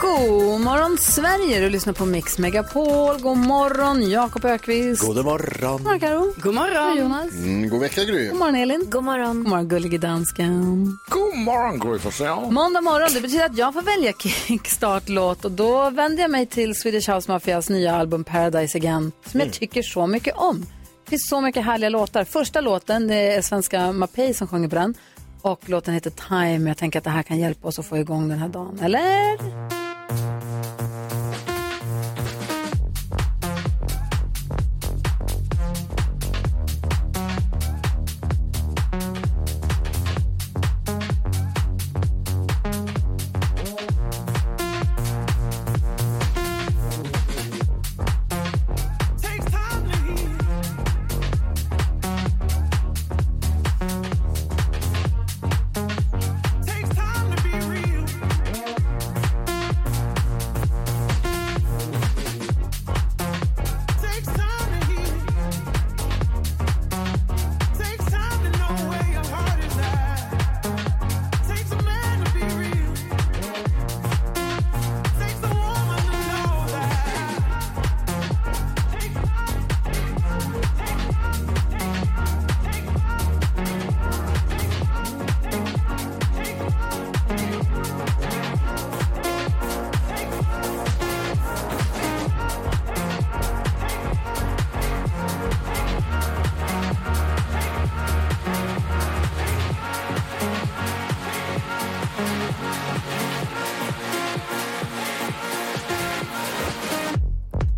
God morgon Sverige, du lyssnar på Mix Megapol. God morgon Jakob Ökvist. God morgon. morgon Karo. God morgon. Jonas. Mm, god vecka Gry. God morgon Elin. God morgon. God morgon gullige dansken. God morgon Gry Forssell. Måndag morgon, det betyder att jag får välja kickstartlåt och då vänder jag mig till Swedish House Mafias nya album Paradise Again som Mm. jag tycker så mycket om. Det finns så mycket härliga låtar. Första låten, det är svenska Mapei som sjunger på den och låten heter Time. Jag tänker att det här kan hjälpa oss att få igång den här dagen, eller?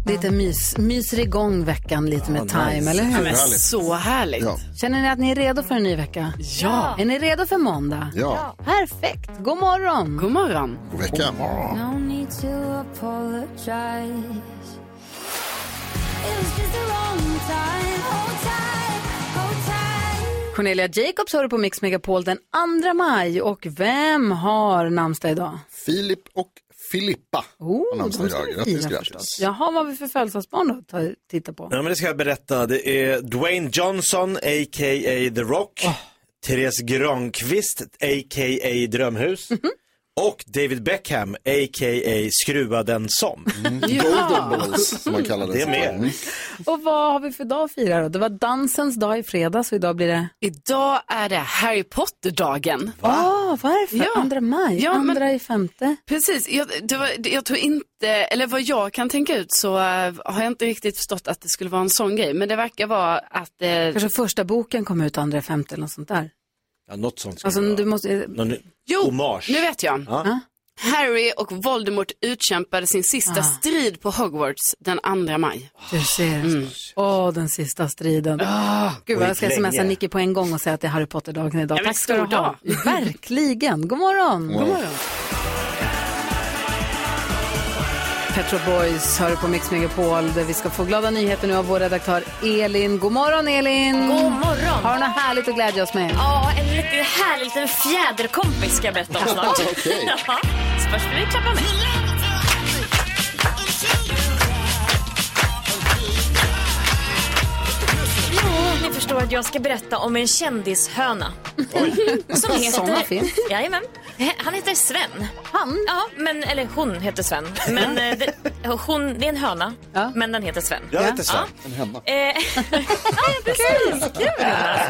Lite mys, myser igång veckan lite med Time, eller Ja, hur? men Härligt. så härligt. Ja. Känner ni att ni är redo för en ny vecka? Ja. Är ni redo för måndag? Ja, Perfekt! God morgon! God morgon. god vecka. No need to apologize. It was just the wrong time. Hold tight, hold tight. Cornelia Jacobs hör du på Mix Megapol den 2 maj. Och vem har namnsdag idag? Filip och Filippa har namnsdag Oh, de ska idag. vi Grattis, fira grattis. Jaha, vad har vi för födelsedagsbarn då att ta- titta på? Ja men det ska jag berätta. Det är Dwayne Johnson, a.k.a. The Rock. Therese Granqvist, a.k.a. Drömhus. Mhm. Och David Beckham, a.k.a. Skruva den som. Mm. Golden Balls som man kallar det. Det är med. Mm. Och vad har vi för dag att fira då? Det var dansens dag i fredags och idag blir det... Idag är det Harry Potter-dagen. Ah, varför? Ja. 2 maj? Ja, men- Andra i femte? Precis, jag, det var, det- jag tror inte, eller vad jag kan tänka ut så eh, har jag inte riktigt förstått att det skulle vara en sån grej. Men det verkar vara att, eh, Kanske första boken kommer ut andra i femte eller något sånt där. Ja, något sånt. ska Alltså, det vara. du måste... Någon jo, hommage. nu vet jag. Ja. Harry och Voldemort utkämpade sin sista strid på Hogwarts den 2 maj. Du ser. Åh, den sista striden. Gud, vad jag ska gick länge. smsa Nicky på en gång och säga att det är Harry Potter-dagen idag. Ja, men Tack ska du stor ha. Verkligen. God morgon. God morgon. Petro Boys hör du på Mix Megapol där vi ska få glada nyheter nu av vår redaktör Elin. God morgon Elin! God morgon! Har du något härligt att glädja oss med? Ja, en riktigt härlig liten fjäderkompis ska jag berätta om snart. Okej. ja, så först vill vi klappa med. Jo, ni förstår att jag ska berätta om en kändishöna. Som Såna finns. Jajamän. Han heter Sven. Han? Ja, men, eller hon heter Sven. Men eh, det, hon, det är en höna, Ja. men den heter Sven. Jag vet inte så. En hemma. Eh, ja, precis. Kul! Jonas.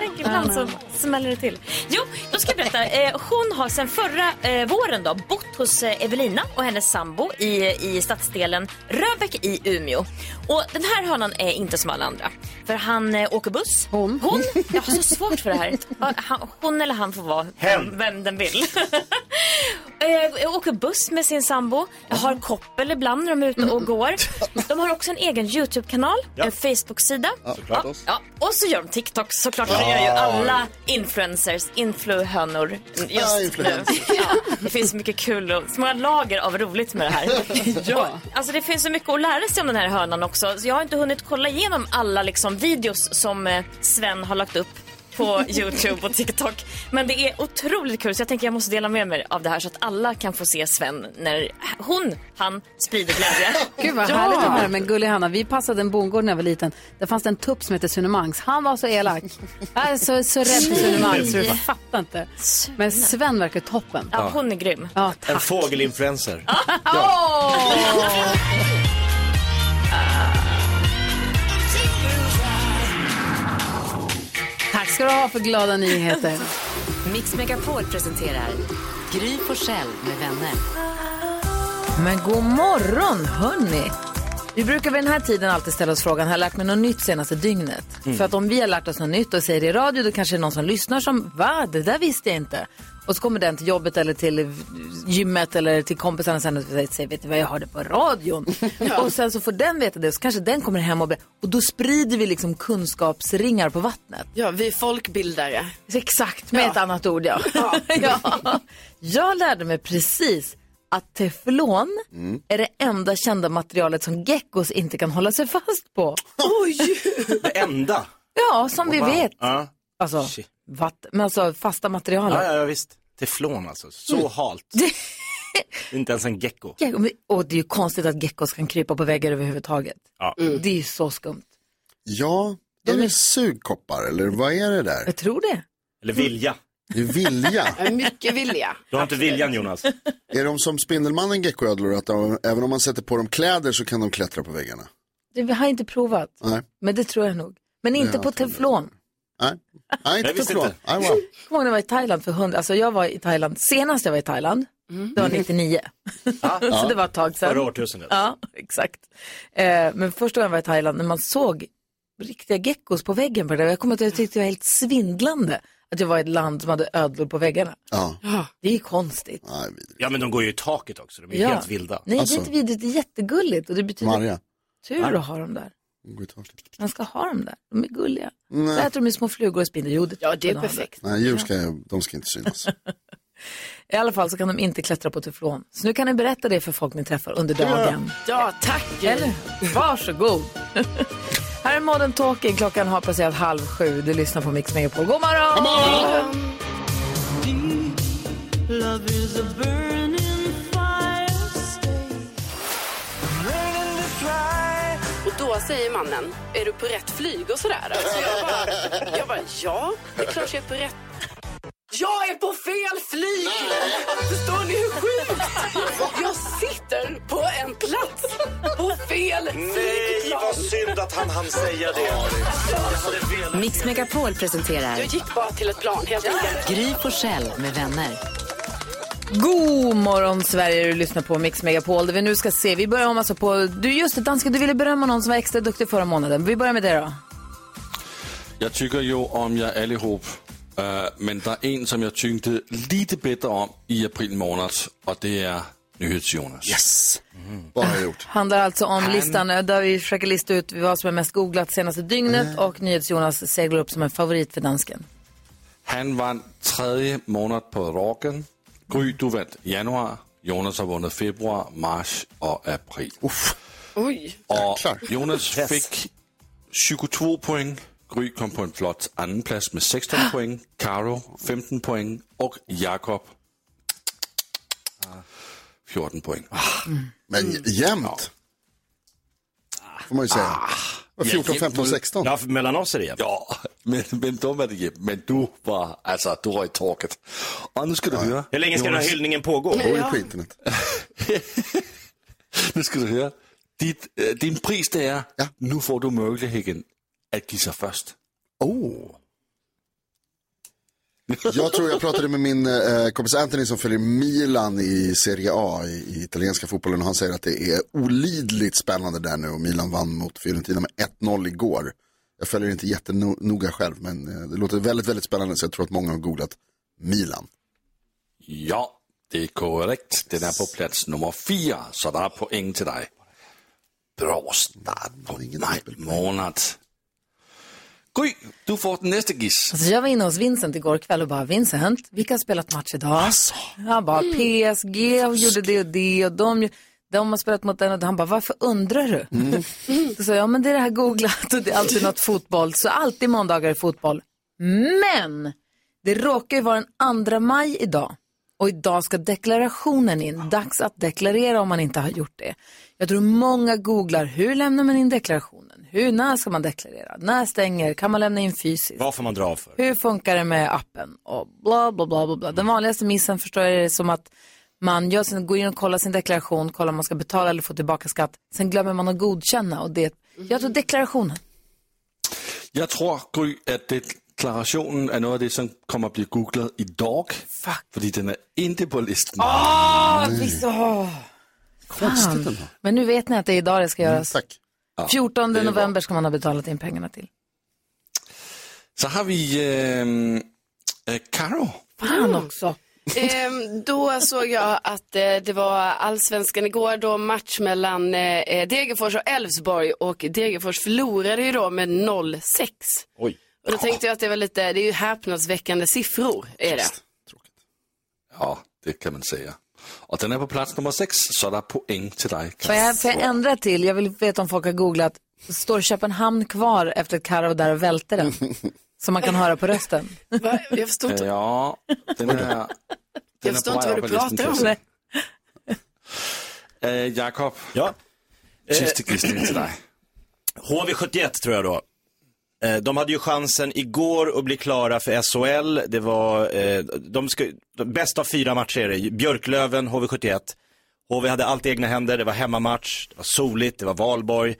Tänk ibland så smäller det till. Jo, då ska jag berätta. Eh, hon har sedan förra eh, våren då, bott hos eh, Evelina och hennes sambo i, i stadsdelen Röbäck i Umeå. Och den här hönan är inte som alla andra. För han eh, åker buss. Hon. Hon? Jag har så svårt för det här. Ja, han- Hon eller han får vara vem, vem den vill. Eh, åker buss med sin sambo, jag har koppel ibland när de är ute och går. De har också en egen YouTube-kanal, en Facebook-sida. såklart oss. ja. Och så gör de TikTok såklart, för det gör ju alla influencers, influhönor just Ah, nu. influencers. Ja, det finns så mycket kul och så många lager av roligt med det här. Och, alltså det finns så mycket att lära sig om den här hönan också. Så jag har inte hunnit kolla igenom alla liksom, videos som eh, Sven har lagt upp på Youtube och TikTok. Men det är otroligt kul så jag tänker jag måste dela med mig av det här så att alla kan få se Sven när hon, han sprider glädje. Gud vad härligt att höra. Men gullig Hanna, vi passade en bondgård när jag var liten. Där fanns det en tupp som hette Sunemangs. Han var så elak. Jag är så, så rädd för Sunemangs så du bara fattar inte. Men Sven verkar toppen. Ja, hon är grym. Ja, En tack. fågelinfluencer. Ah. tack ska du ha för glada nyheter. Mix Megapol presenterar Gry Forssell med vänner. Men god morgon, hörni! Vi brukar vid den här tiden alltid ställa oss frågan, har jag lärt mig något nytt senaste dygnet? För att om vi har lärt oss något nytt och säger det i radio, då kanske det är någon som lyssnar som, va, det där visste jag inte. Och så kommer den till jobbet eller till gymmet eller till kompisarna sen och säger, vet du vad jag hörde på radion? Och sen så får den veta det, så kanske den kommer hem och, be- och då sprider vi liksom kunskapsringar på vattnet. Ja, vi är folkbildare. Exakt, med ett annat ord ja. ja. Jag lärde mig precis att teflon Mm. är det enda kända materialet som geckos inte kan hålla sig fast på. Det enda. Ja, som vi vet. Ja, Alltså, Shit. vatt, men alltså fasta materialet. ja, ja visst. Teflon alltså. Mm. Så halt. Det är inte ens en gecko. Gecko- men- Och det är ju konstigt att geckos kan krypa på väggar överhuvudtaget. Ja. Det är ju så skumt. Mm. Ja, är det sugkoppar eller vad är det där? Jag tror det. Eller vilja. Det är Vilja. Mycket vilja. Du har inte viljan Jonas. Är de som Spindelmannen geckoödlor att de, även om man sätter på dem kläder så kan de klättra på väggarna? det. Vi har inte provat, Nej, men det tror jag nog. Men inte på teflon. nej, nej inte Jag visste teflon. inte. Nej, wow. kommer ihåg när jag var i Thailand för hundra, alltså jag var i Thailand, senast jag var i Thailand, det var 99. så det var ett tag Förra sedan. årtusendet. Ja, exakt. Eh, men första gången jag var i Thailand, när man såg riktiga geckos på väggen på det där, jag kommer att jag tyckte det var helt svindlande att jag var i ett land som hade ödlor på väggarna. Ja, Det är ju konstigt. nej, vidrigt. Ja men de går ju i taket också. De är Ja. helt vilda. Nej, Alltså. det är inte vidrigt, det är jättegulligt och det betyder Maria. tur att ha dem där. gå i taket. Man ska ha dem där, de är gulliga. Så Nej, äter de ju små flugor och spindlar. Jo, det Ja, det ska är de ha där. perfekt. nej djur ska, de ska inte synas. I alla fall så kan de inte klättra på teflon. Så nu kan ni berätta det för folk ni träffar under dagen. Ja, tack. Eller? Varsågod. Här är Modern Talking. Klockan har passerat halv sju. Du lyssnar på Mix Megapol. God morgon! God Och då säger mannen, är du på rätt flyg och sådär? Alltså jag, bara, jag bara, ja, det är klart jag är på rätt. Jag är på fel flyg! Förstår ni hur sjukt? Jag sitter på en plats på fel flygplan. synd att han hann säga det. Mix Megapol presenterar Jag gick bara till ett plan helt enkelt. Gry Forssell med vänner. morgon, Sverige. Du lyssnar på Mix Megapol. Det vi nu ska se. Vi börjar om alltså på... Du, just det, dansken, du ville berömma någon som var extra duktig förra månaden. Vi börjar med det då. Jeg tykker jo om jer allihop, øh, men der er en, som jeg tyngte lite bedre om i april måned, og det er Nyhets Jonas. Yes! Vad har jag gjort? Handlar alltså om listan eh, där vi försöker lista ut vad som är mest googlat senaste dygnet och NyhetsJonas seglar upp som en favorit för dansken. Han vandt tredje måned på rocken. Gry, du vandt januar. Jonas har vundet februar, mars og april. Oj. Og Klar. Jonas fik 22 point. Gry kom på en flot andenplads med 16 point. Caro 15 point. Og Jakob 14 point. Ah. Men jämnt. Får man ju säga. Ah. 14, 15, 16. Ja, för mellan oss är det jämnt. Ja, men, men då var det jämnt. Men du var, alltså, du var i taket. Och nu ska du höra. Hur länge ska den här hyllningen pågå? Går ju på internet. Nu ska du höra. Dit, äh, din pris det är, nu får du möjligheten att gissa först. Oh. Jag tror jag pratade med min eh, kompis Anthony som följer Milan i Serie A i, i italienska fotbollen och han säger att det är olidligt spännande där nu och Milan vann mot Fiorentina med 1-0 igår. Jag följer inte jättenoga själv men eh, det låter väldigt, väldigt spännande så jag tror att många har googlat Milan. Ja, det är korrekt. Den är på plats nummer fyra, så det är poäng till dig. Bra start på nej, månad. Gry, du får den nästa giss. Alltså jag var inne hos Vincent igår kväll och bara Vincent, vilka har spelat match idag? Han bara PSG och gjorde det och det och de, de har spelat mot den och den. Han bara varför undrar du? Då sa jag, ja men det är det här googlat och det är alltid något fotboll. Så alltid måndagar är fotboll. Men det råkar ju vara den 2 maj idag. Och idag ska deklarationen in. Dags att deklarera om man inte har gjort det. Jag tror många googlar, hur lämnar man in deklarationen? Hur, när ska man deklarera? När stänger? Kan man lämna in fysiskt? Vad får man dra av för? Hur funkar det med appen? Och bla, bla, bla, bla, bla. Den vanligaste missen förstår jag är som att man gör sin, går in och kollar sin deklaration, kollar om man ska betala eller få tillbaka skatt. Sen glömmer man att godkänna. Och det, jag tror deklarationen. Jeg tror, Gry, at deklarationen er noget af det, som kommer at blive googlet i dag. Fuck. Fordi den er ikke på listen. Ah, Åh, visst, åh. Konstigt ändå. Men nu vet ni att det är idag det ska göras. Tack. 14 Mm, det är november ska man ha betalat in pengarna till. Så har vi øh, øh, Caro. Fan också. Ehm, då såg jag att eh, det var allsvenskan igår då match mellan eh, Degerfors och Elfsborg och Degerfors förlorade ju då med 0-6. Oj. Och då tänkte jag att det var lite, det är ju häpnadsväckande siffror är det. Ja, det kan man sige. Og den er på plads nummer 6, så der er point til dig, Får Caro. jag, får jag ändra till? Jag vill veta om folk har googlat. Står Köpenhamn kvar efter att Karo var där och välte den? Som man kan höra på rösten. Va? Jag förstår inte. Ja, den er, den forstår ikke, hvad du prater om. Eh, Øh, Jakob, Ja. Eh, sidste gissning til dig. HV71 tror jag då. Eh, De hade ju chansen igår att bli klara för SHL. Det var, eh, de ska, de bästa av fyra matcher är det. Björklöven, HV71. HV hade allt i egna händer, det var hemmamatch, det var soligt, det var valborg,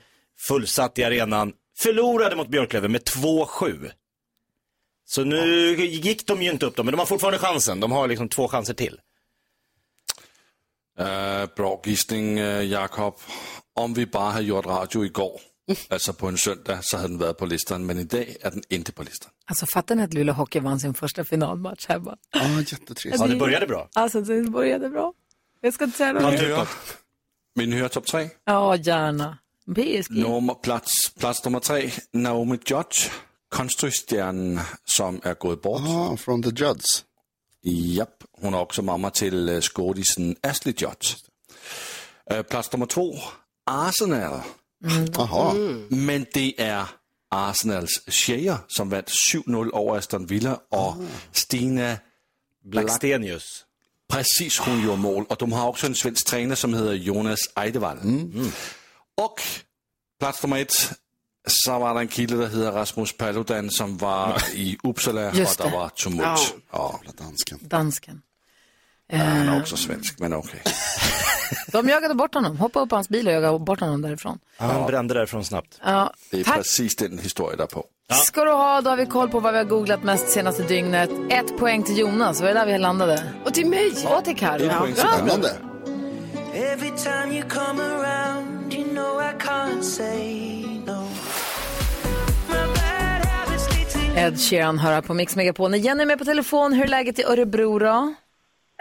fullsatt i arenan. Förlorade mot Björklöven med 2-7. Så nu gick de ju inte upp dem, men de har fortfarande chansen. De har liksom två chanser till. Uh, bra gissning, øh, Jakob. Om vi bare havde gjort radio i går, altså på en søndag, så havde den været på listeren, men i dag er den ikke på listeren. Alltså fattar ni att Luleå Hockey vann sin första finalmatch här bara? Ja, jättetrist. Ja, det började bra. typ. Alltså det började bra. Jag ska inte säga något. Vad Vil I tycker du? høre- Vil I høre top 3? Ja, gärna. PSG. Nummer, plads, plads nummer 3, Naomi Judge, kunststjernen, som er gået bort. Ja, från Ah, The Judds. Yep. Hun er også mamma til øh, skådisen Ashley Judge. Øh, plads nummer 2, Arsenal. Mm. Mm. Jaha. Men det er Arsenals Shea, som vandt 7-0 over Aston Villa, og Ah. Stina Blackstenius. Præcis, hun gjorde mål. Og de har også en svensk træner, som hedder Jonas Eidevall. Mm. Og plads nummer et, så var der en kilde, der hedder Rasmus Paludan, som var i Uppsala, Just og det. der var tumult. Og Dansken. Mm. Dansken. Eh, han Øh. er også svensk, men okay. De jagade bort honom. Hoppade upp på hans bil och jagade bort honom därifrån. Han brände därifrån snabbt. Ja, Det er Tak. præcis den historie, der er på. ska du ha. Då har vi koll på vad vi har googlat mest senaste dygnet. Ett poäng till Jonas. Var det där vi landade? Och till mig. Och till Carro. Et point til dig. Spännande. Ed Sheeran hör här på Mix Megapol. När Jenny är med på telefon, hur är läget i Örebro då?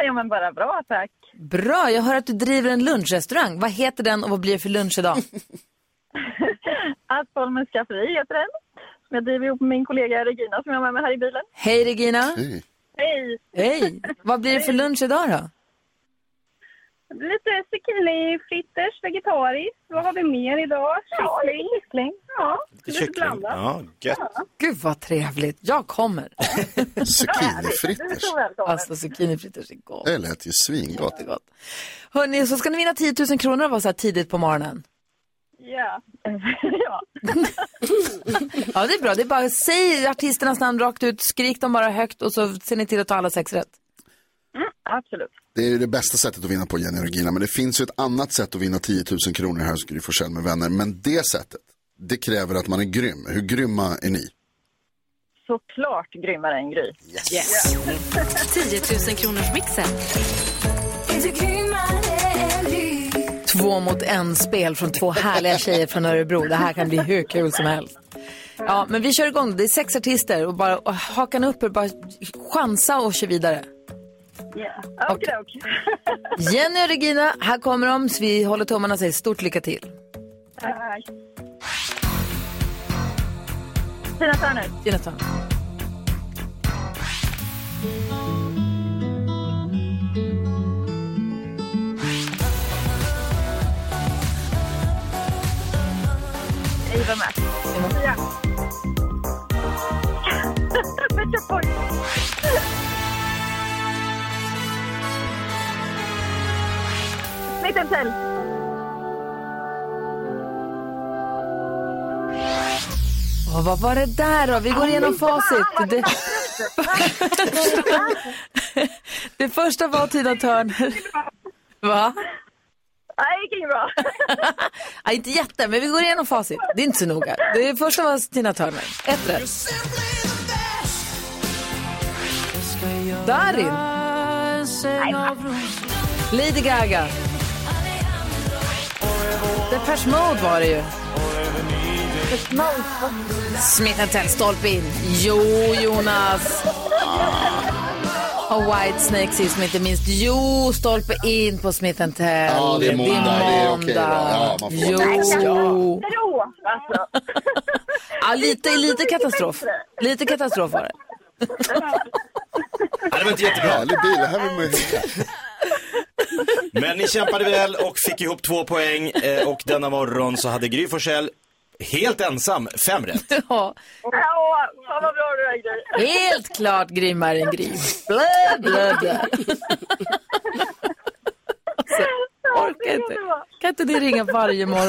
Jo, men bara bra, tack. Bra, jag hör att du driver en lunchrestaurang. Vad heter den och vad blir det för lunch idag? Att Holmens skafferi heter den. Som jag driver ihop med min kollega Regina som jag har med mig här i bilen. Hej Regina! Hej. Hej! Hej! Vad blir det för lunch idag då? Lite zucchini-fritters, vegetariskt. Vad har vi mer idag? Kyckling. Ja, kyckling. Ja, lite, blandat. Ja, gött. Gud vad trevligt, jag kommer! Du är Zucchinifritters. så välkommen. Alltså zucchinifritters är gott. Det lät ju svingott. gott. Hörni, så ska ni vinna 10 000 kronor av oss här tidigt på morgonen. Ja. ja. Ja, det är bra. Det är bara säg artisternas namn rakt ut, skrik dem bara högt och så ser ni till att ta alla sex rätt. Absolut. Det är ju det bästa sättet att vinna på Jenny och Regina. Men det finns ju ett annat sätt att vinna 10 000 kronor här hos Gry Forssell med vänner. Men det sättet, det kräver att man är grym. Hur grymma är ni? Såklart grymmare än Gry. 10 000 kronors mixen. Inte grymmare än vi Två mot en spel från två härliga tjejer från Örebro. Det här kan bli hur kul som helst. Ja, men vi kör igång. Det är sex artister och bara och hakan upp er, bara chansa och kör vidare. Yeah. Okej, okej. Jenny och Regina, här kommer de. Så vi håller tummarna och säger stort lycka till. Tack. Tina Turner. Gina Törn. Eva Max. Simon. Ja. Patrik Lundell. Åh, vad var det där då? Vi går igenom facit. Det, det första var Tina Turner. Va? Nej, det gick inget bra. Nej, inte jätte, men vi går igenom facit. Det är inte så noga. Det första var Tina Turner. Ett rätt. Darin. Lady Gaga. Depeche Mode var det ju. Smith Tell, stolpe in. Jo, Jonas. Och Whitesnake sist men inte minst. Jo, stolpe in på Smith Tell. Ja, det är måndag. Det är okej då. Ja, måndag. man får Jo. Bra, alltså. Ja, lite, lite katastrof. Lite katastrof var det. Ja, det var inte jättebra. Härlig bil, det här vill man ju hyra. Men ni kämpade väl och fick ihop två poäng eh, och denna morgon så hade Gry Forssell helt ensam fem rätt. Ja, Ja, fan vad bra du är Gry. helt klart grymmare än grym. Blä, blä, blä. Alltså, orkar inte. Kan inte ni ringa varje morgon?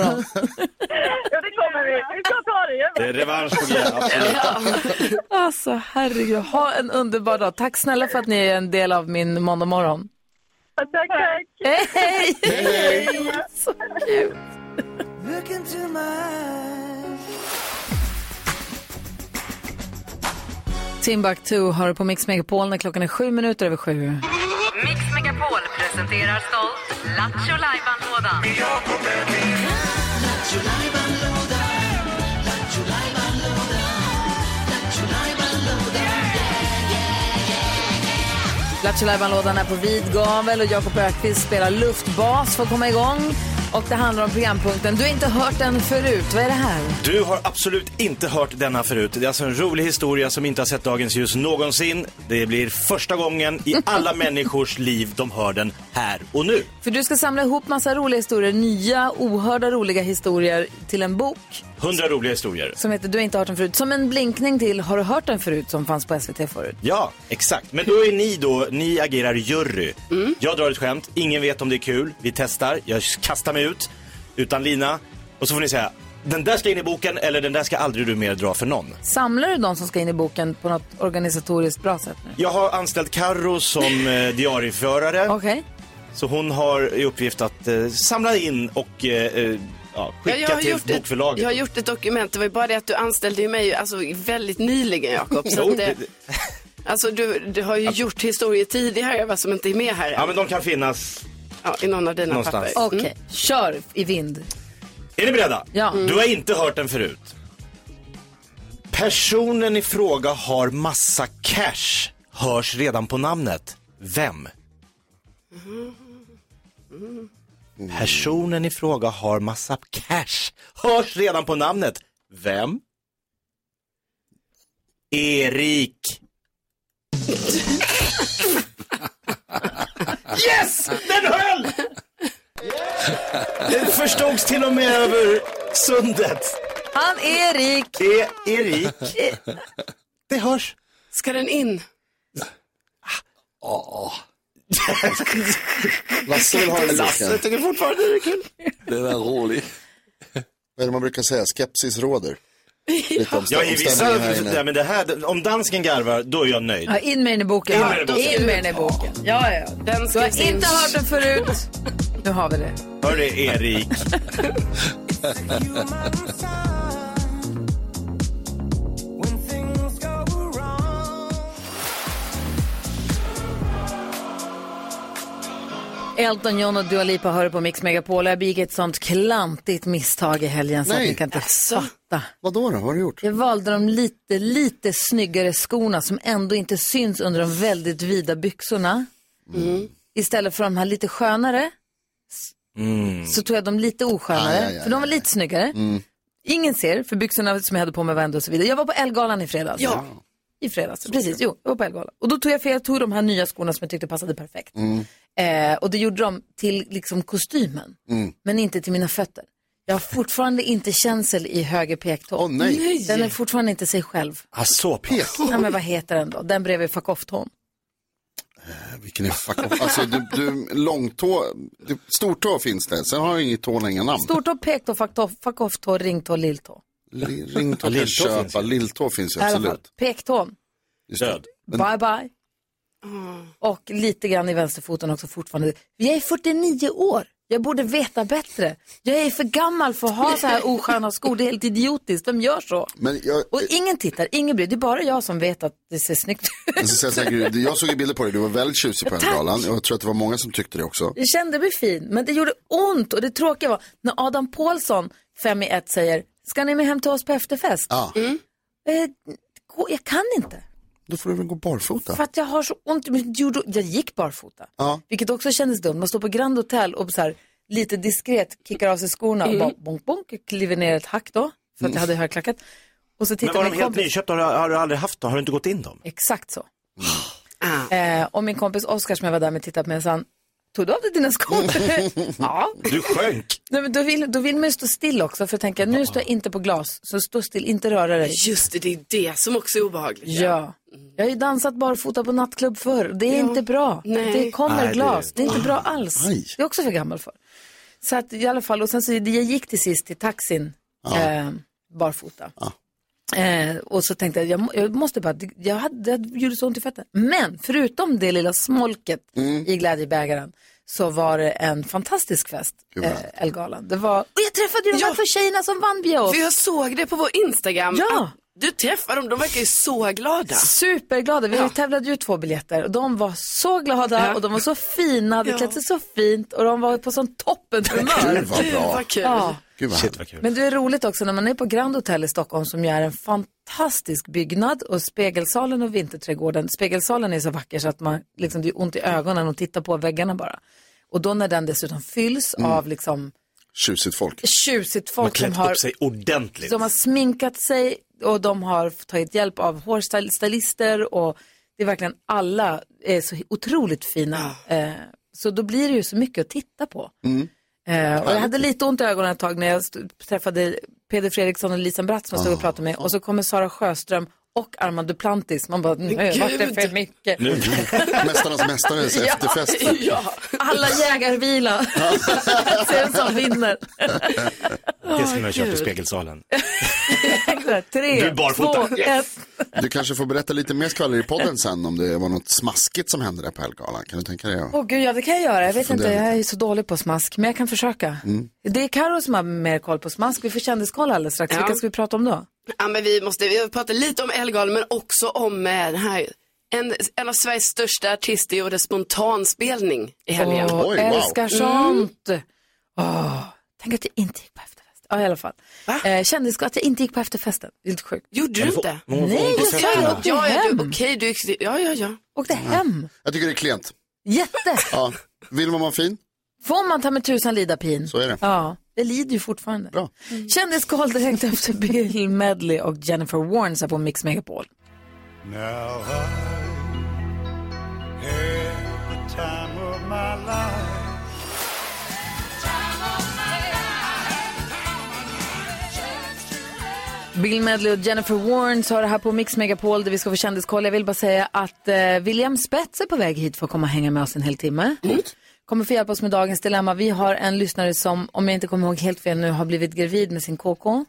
Ja, det kommer vi. Vi ska ta det. Jag Det är revansch på G, absolut. Alltså, herregud. Ha en underbar dag. Tack snälla för att ni är en del av min måndagmorgon. bara, Tack, tack. Hej, hej! Så kul. Timbuktu har du på Mix Megapol när klockan är sju minuter över sju. Mix Megapol presenterar stolt Lattjo Lajban-lådan. Lattjo Lajban-lådan är på vid gavel och Jakob Ökvist spelar luftbas för att komma igång. Och det handlar om programpunkten Du har inte hört den förut. Vad är det här? Du har absolut inte hört denna förut. Det är alltså en rolig historia som inte har sett dagens ljus någonsin. Det blir första gången i alla människors liv de hör den här och nu. För du ska samla ihop massa roliga historier, nya ohörda roliga historier till en bok Hundra roliga historier. som heter Du har inte hört den förut. Som en blinkning till Har du hört den förut som fanns på SVT förut. Ja, exakt. Men då är ni då, ni agerar jury. Mm. Jag drar ett skämt, ingen vet om det är kul. Vi testar, jag kastar mig ut utan lina. Och så får ni säga, den där ska in i boken eller den där ska aldrig du mer dra för någon. Samlar du de som ska in i boken på något organisatoriskt bra sätt nu? Jag har anställt Karo som eh, diarieförare. Okej. Så hon har i uppgift att eh, samla in och eh, eh, ja, Ja, skicka jag, har till gjort ett, bokförlaget. jag har gjort ett dokument, det var ju bara det att du anställde ju mig alltså, väldigt nyligen Jakob. Så Jo, att det, det- alltså, du, du har ju gjort historier tidigare va, som inte är med här Ja, än. men de kan finnas. ja, i någon av dina Någonstans. papper. Mm. Okej, kör i vind. Är ni beredda? Ja. Mm. Du har inte hört den förut. Personen i fråga har massa cash. Hörs redan på namnet. Vem? Personen i fråga har massa cash. Hörs redan på namnet. Vem? Erik. Yes! Den höll! Den förstods till och med över sundet. Han Erik! Det är Erik. Det hörs. Ska den in? Lasse vill ha den i boken. Lasse tycker fortfarande det är kul. Den är rolig. Vad är det man brukar säga? Skepsis råder. Lite om Ja, i vissa... stämningen här Ja, inne. men det här, om dansken garvar, då är jag nöjd. Ja, in med den i boken. In med den i boken. In med den i boken. Ja, ja. Den Du ska har inte hört den förut. Nu har vi det. Hörru, Erik. Elton John och Dua Lipa hör på Mix Megapol. Jag begick ett sånt klantigt misstag i helgen så att Nej. ni kan inte fatta. Vadå då? Vad har du gjort? Jag valde de lite, lite snyggare skorna som ändå inte syns under de väldigt vida byxorna. Istället för de här lite skönare Mm. så tog jag de lite oskönare, Aj, aj, aj, för de var lite snyggare. Ingen ser, för byxorna som jag hade på mig var ändå och så vidare. Jag var på Ellegalan i fredags. Ja. I fredags, precis. Jo, jag var på Ellegalan. Och då tog jag, för jag tog de här nya skorna som jag tyckte passade perfekt. Mm. Eh, och det gjorde de till liksom kostymen, Mm. Mm. men inte till mina fötter. Jag har fortfarande inte känsel i höger pektå. Åh nej. Den är fortfarande inte sig själv. Ah, så pass. Nej, men vad heter den då? Den bredvid Fuck Off-tån. Vilken är fuck off. Alltså, du, du, långtå, du, stortå finns det. Sen har jag inget tå inga namn. Stortå, pektå, facktå, fuck off-tå, ringtå, lilltå. Li- Ringtå kan Lilltå jag finns köpa, lilltå finns ju I alla fall. absolut. Pektån, Just det. Men- bye bye. Och lite grann i vänsterfoten också fortfarande. Jag är 49 år. Jag borde veta bättre. Jag är för gammal för att ha så här osköna skor. Det är helt idiotiskt. Vem gör så? Men jag, Och ingen tittar, ingen bryr Det är bara jag som vet att det ser snyggt ut. jag, ska säga så här, Gry, jag såg ju bilder på dig, du var väldigt tjusig på den Tack. galan. Jag tror att det var många som tyckte det också. Jag kände mig fin, men det gjorde ont. Och det tråkiga var när Adam Paulsson, fem i ett, säger Ska ni med hem till oss på efterfest? Ja, Eh, gå- jag kan inte. då får du väl gå barfota. För att jag har så ont. Men det gjorde- Jag gick barfota. Ja. Vilket också kändes dumt. Man står på Grand Hotel och så här, lite diskret kickar av sig skorna och bara bonk, bonk, kliver ner ett hack då. För att jag hade högklackat. Och så Mm. Men tittar var de min helt kompis. nyköpta? Har du, har du aldrig haft dem? Har du inte gått in dem? Exakt så. Eh, och min kompis Oskar som jag var där med tittade på mig och sa, han, tog du av dig dina skor? Mm. ja. Du sjönk. Nej, men då, vill, då vill man ju stå still också för att tänka, nu står jag inte på glas, så stå still, inte röra dig. Just det, det är det som också är obehagligt. Ja. Jag har ju dansat barfota på nattklubb förr. Det är inte bra. Nej. Det kommer Nej, det- glas. Det är inte bra alls. Aj. Det är också för gammal för. Så att i alla fall, och sen så jag gick till sist till taxin eh, barfota. Eh, och så tänkte jag, jag, må- jag måste bara, jag hade, jag gjorde så ont i fötterna. Men förutom det lilla smolket Mm. i glädjebägaren så var det en fantastisk fest, Gud vad eh, Elgalan. Det var, och jag träffade ju de Ja. här två tjejerna som vann Björn. För jag såg det på vår Instagram. Ja. Att du träffar dem, de verkar ju så glada. Superglada. Vi Ja. tävlade ju två biljetter och de var så glada Ja. och de var så fina, hade Ja. klätt sig så fint och de var på sån Gud toppenhumör. vad Gud, bra. vad kul. Ja. Gud vad Shit härligt. vad kul. Men det är roligt också när man är på Grand Hotel i Stockholm som ju är en fantastisk byggnad och spegelsalen och vinterträdgården. Spegelsalen är så vacker så att man liksom, det är ont i ögonen och tittar på väggarna bara. Och då när den dessutom fylls av liksom Mm. Tjusigt folk. tjusigt Man folk som klätt har upp sig ordentligt. De har sminkat sig och de har tagit hjälp av hårstylister och det är verkligen alla är så otroligt fina. Eh, så då blir det ju så mycket att titta på. Mm. Eh, och jag hade lite ont i ögonen ett tag när jag st- träffade Peder Fredriksson och Lisen Bratt som jag stod och pratade med och så kommer Sara Sjöström och Armand Duplantis. Man bara, nu vart det för mycket. Mästarnas mästares efterfest. Ja. Alla jägarvila. Se vem som vinner. det skulle man köpa i spegelsalen. Du Tre, är barfota. två, Yes. ett. Du kanske får berätta lite mer skvaller i podden sen om det var något smaskigt som hände där på Ellegalan. Kan du tänka dig? Åh gud, ja det kan jag göra. Jag vet inte, Fundera jag är så dålig på smask, men jag kan försöka. Det är Karo som har mer koll på smask. Vi får kändiskoll alldeles strax. Ja. Vilka ska vi prata om då? Ja, men vi måste vi prata lite om Ellegalan men också om eh, den här, en, en av Sveriges största artister gjorde spontanspelning i helgen. Mm. Åh, Oj, wow. älskar sånt. Åh, tänk att jag inte gick på efterfest. Ja, i alla fall. Eh, kändiskoll, att jag inte gick på efterfesten. Det är Helt sjukt. Gjorde du inte? Nej, jag sa jag Ja, åkte ja, ja, hem. du, okej, du, ja, ja, ja. Åkte hem. Jag tycker det är klent. Jätte. Ja. Vill man vara fin, Får man ta med tusan lida pin. så är det. Ja, det lider ju fortfarande. Bra. Kändiskoll direkt efter Bill Medley och Jennifer Warnes här på Mix Megapol. Bill Medley och Jennifer Warnes har det här på Mix Megapol där vi ska få kändiskoll. Jag vill bara säga att eh, William Spets är på väg hit för att komma och hänga med oss en hel timme. Kommer få hjälpa oss med dagens dilemma. Vi har en lyssnare som, om jag inte kommer ihåg helt fel nu, har blivit gravid med sin KK.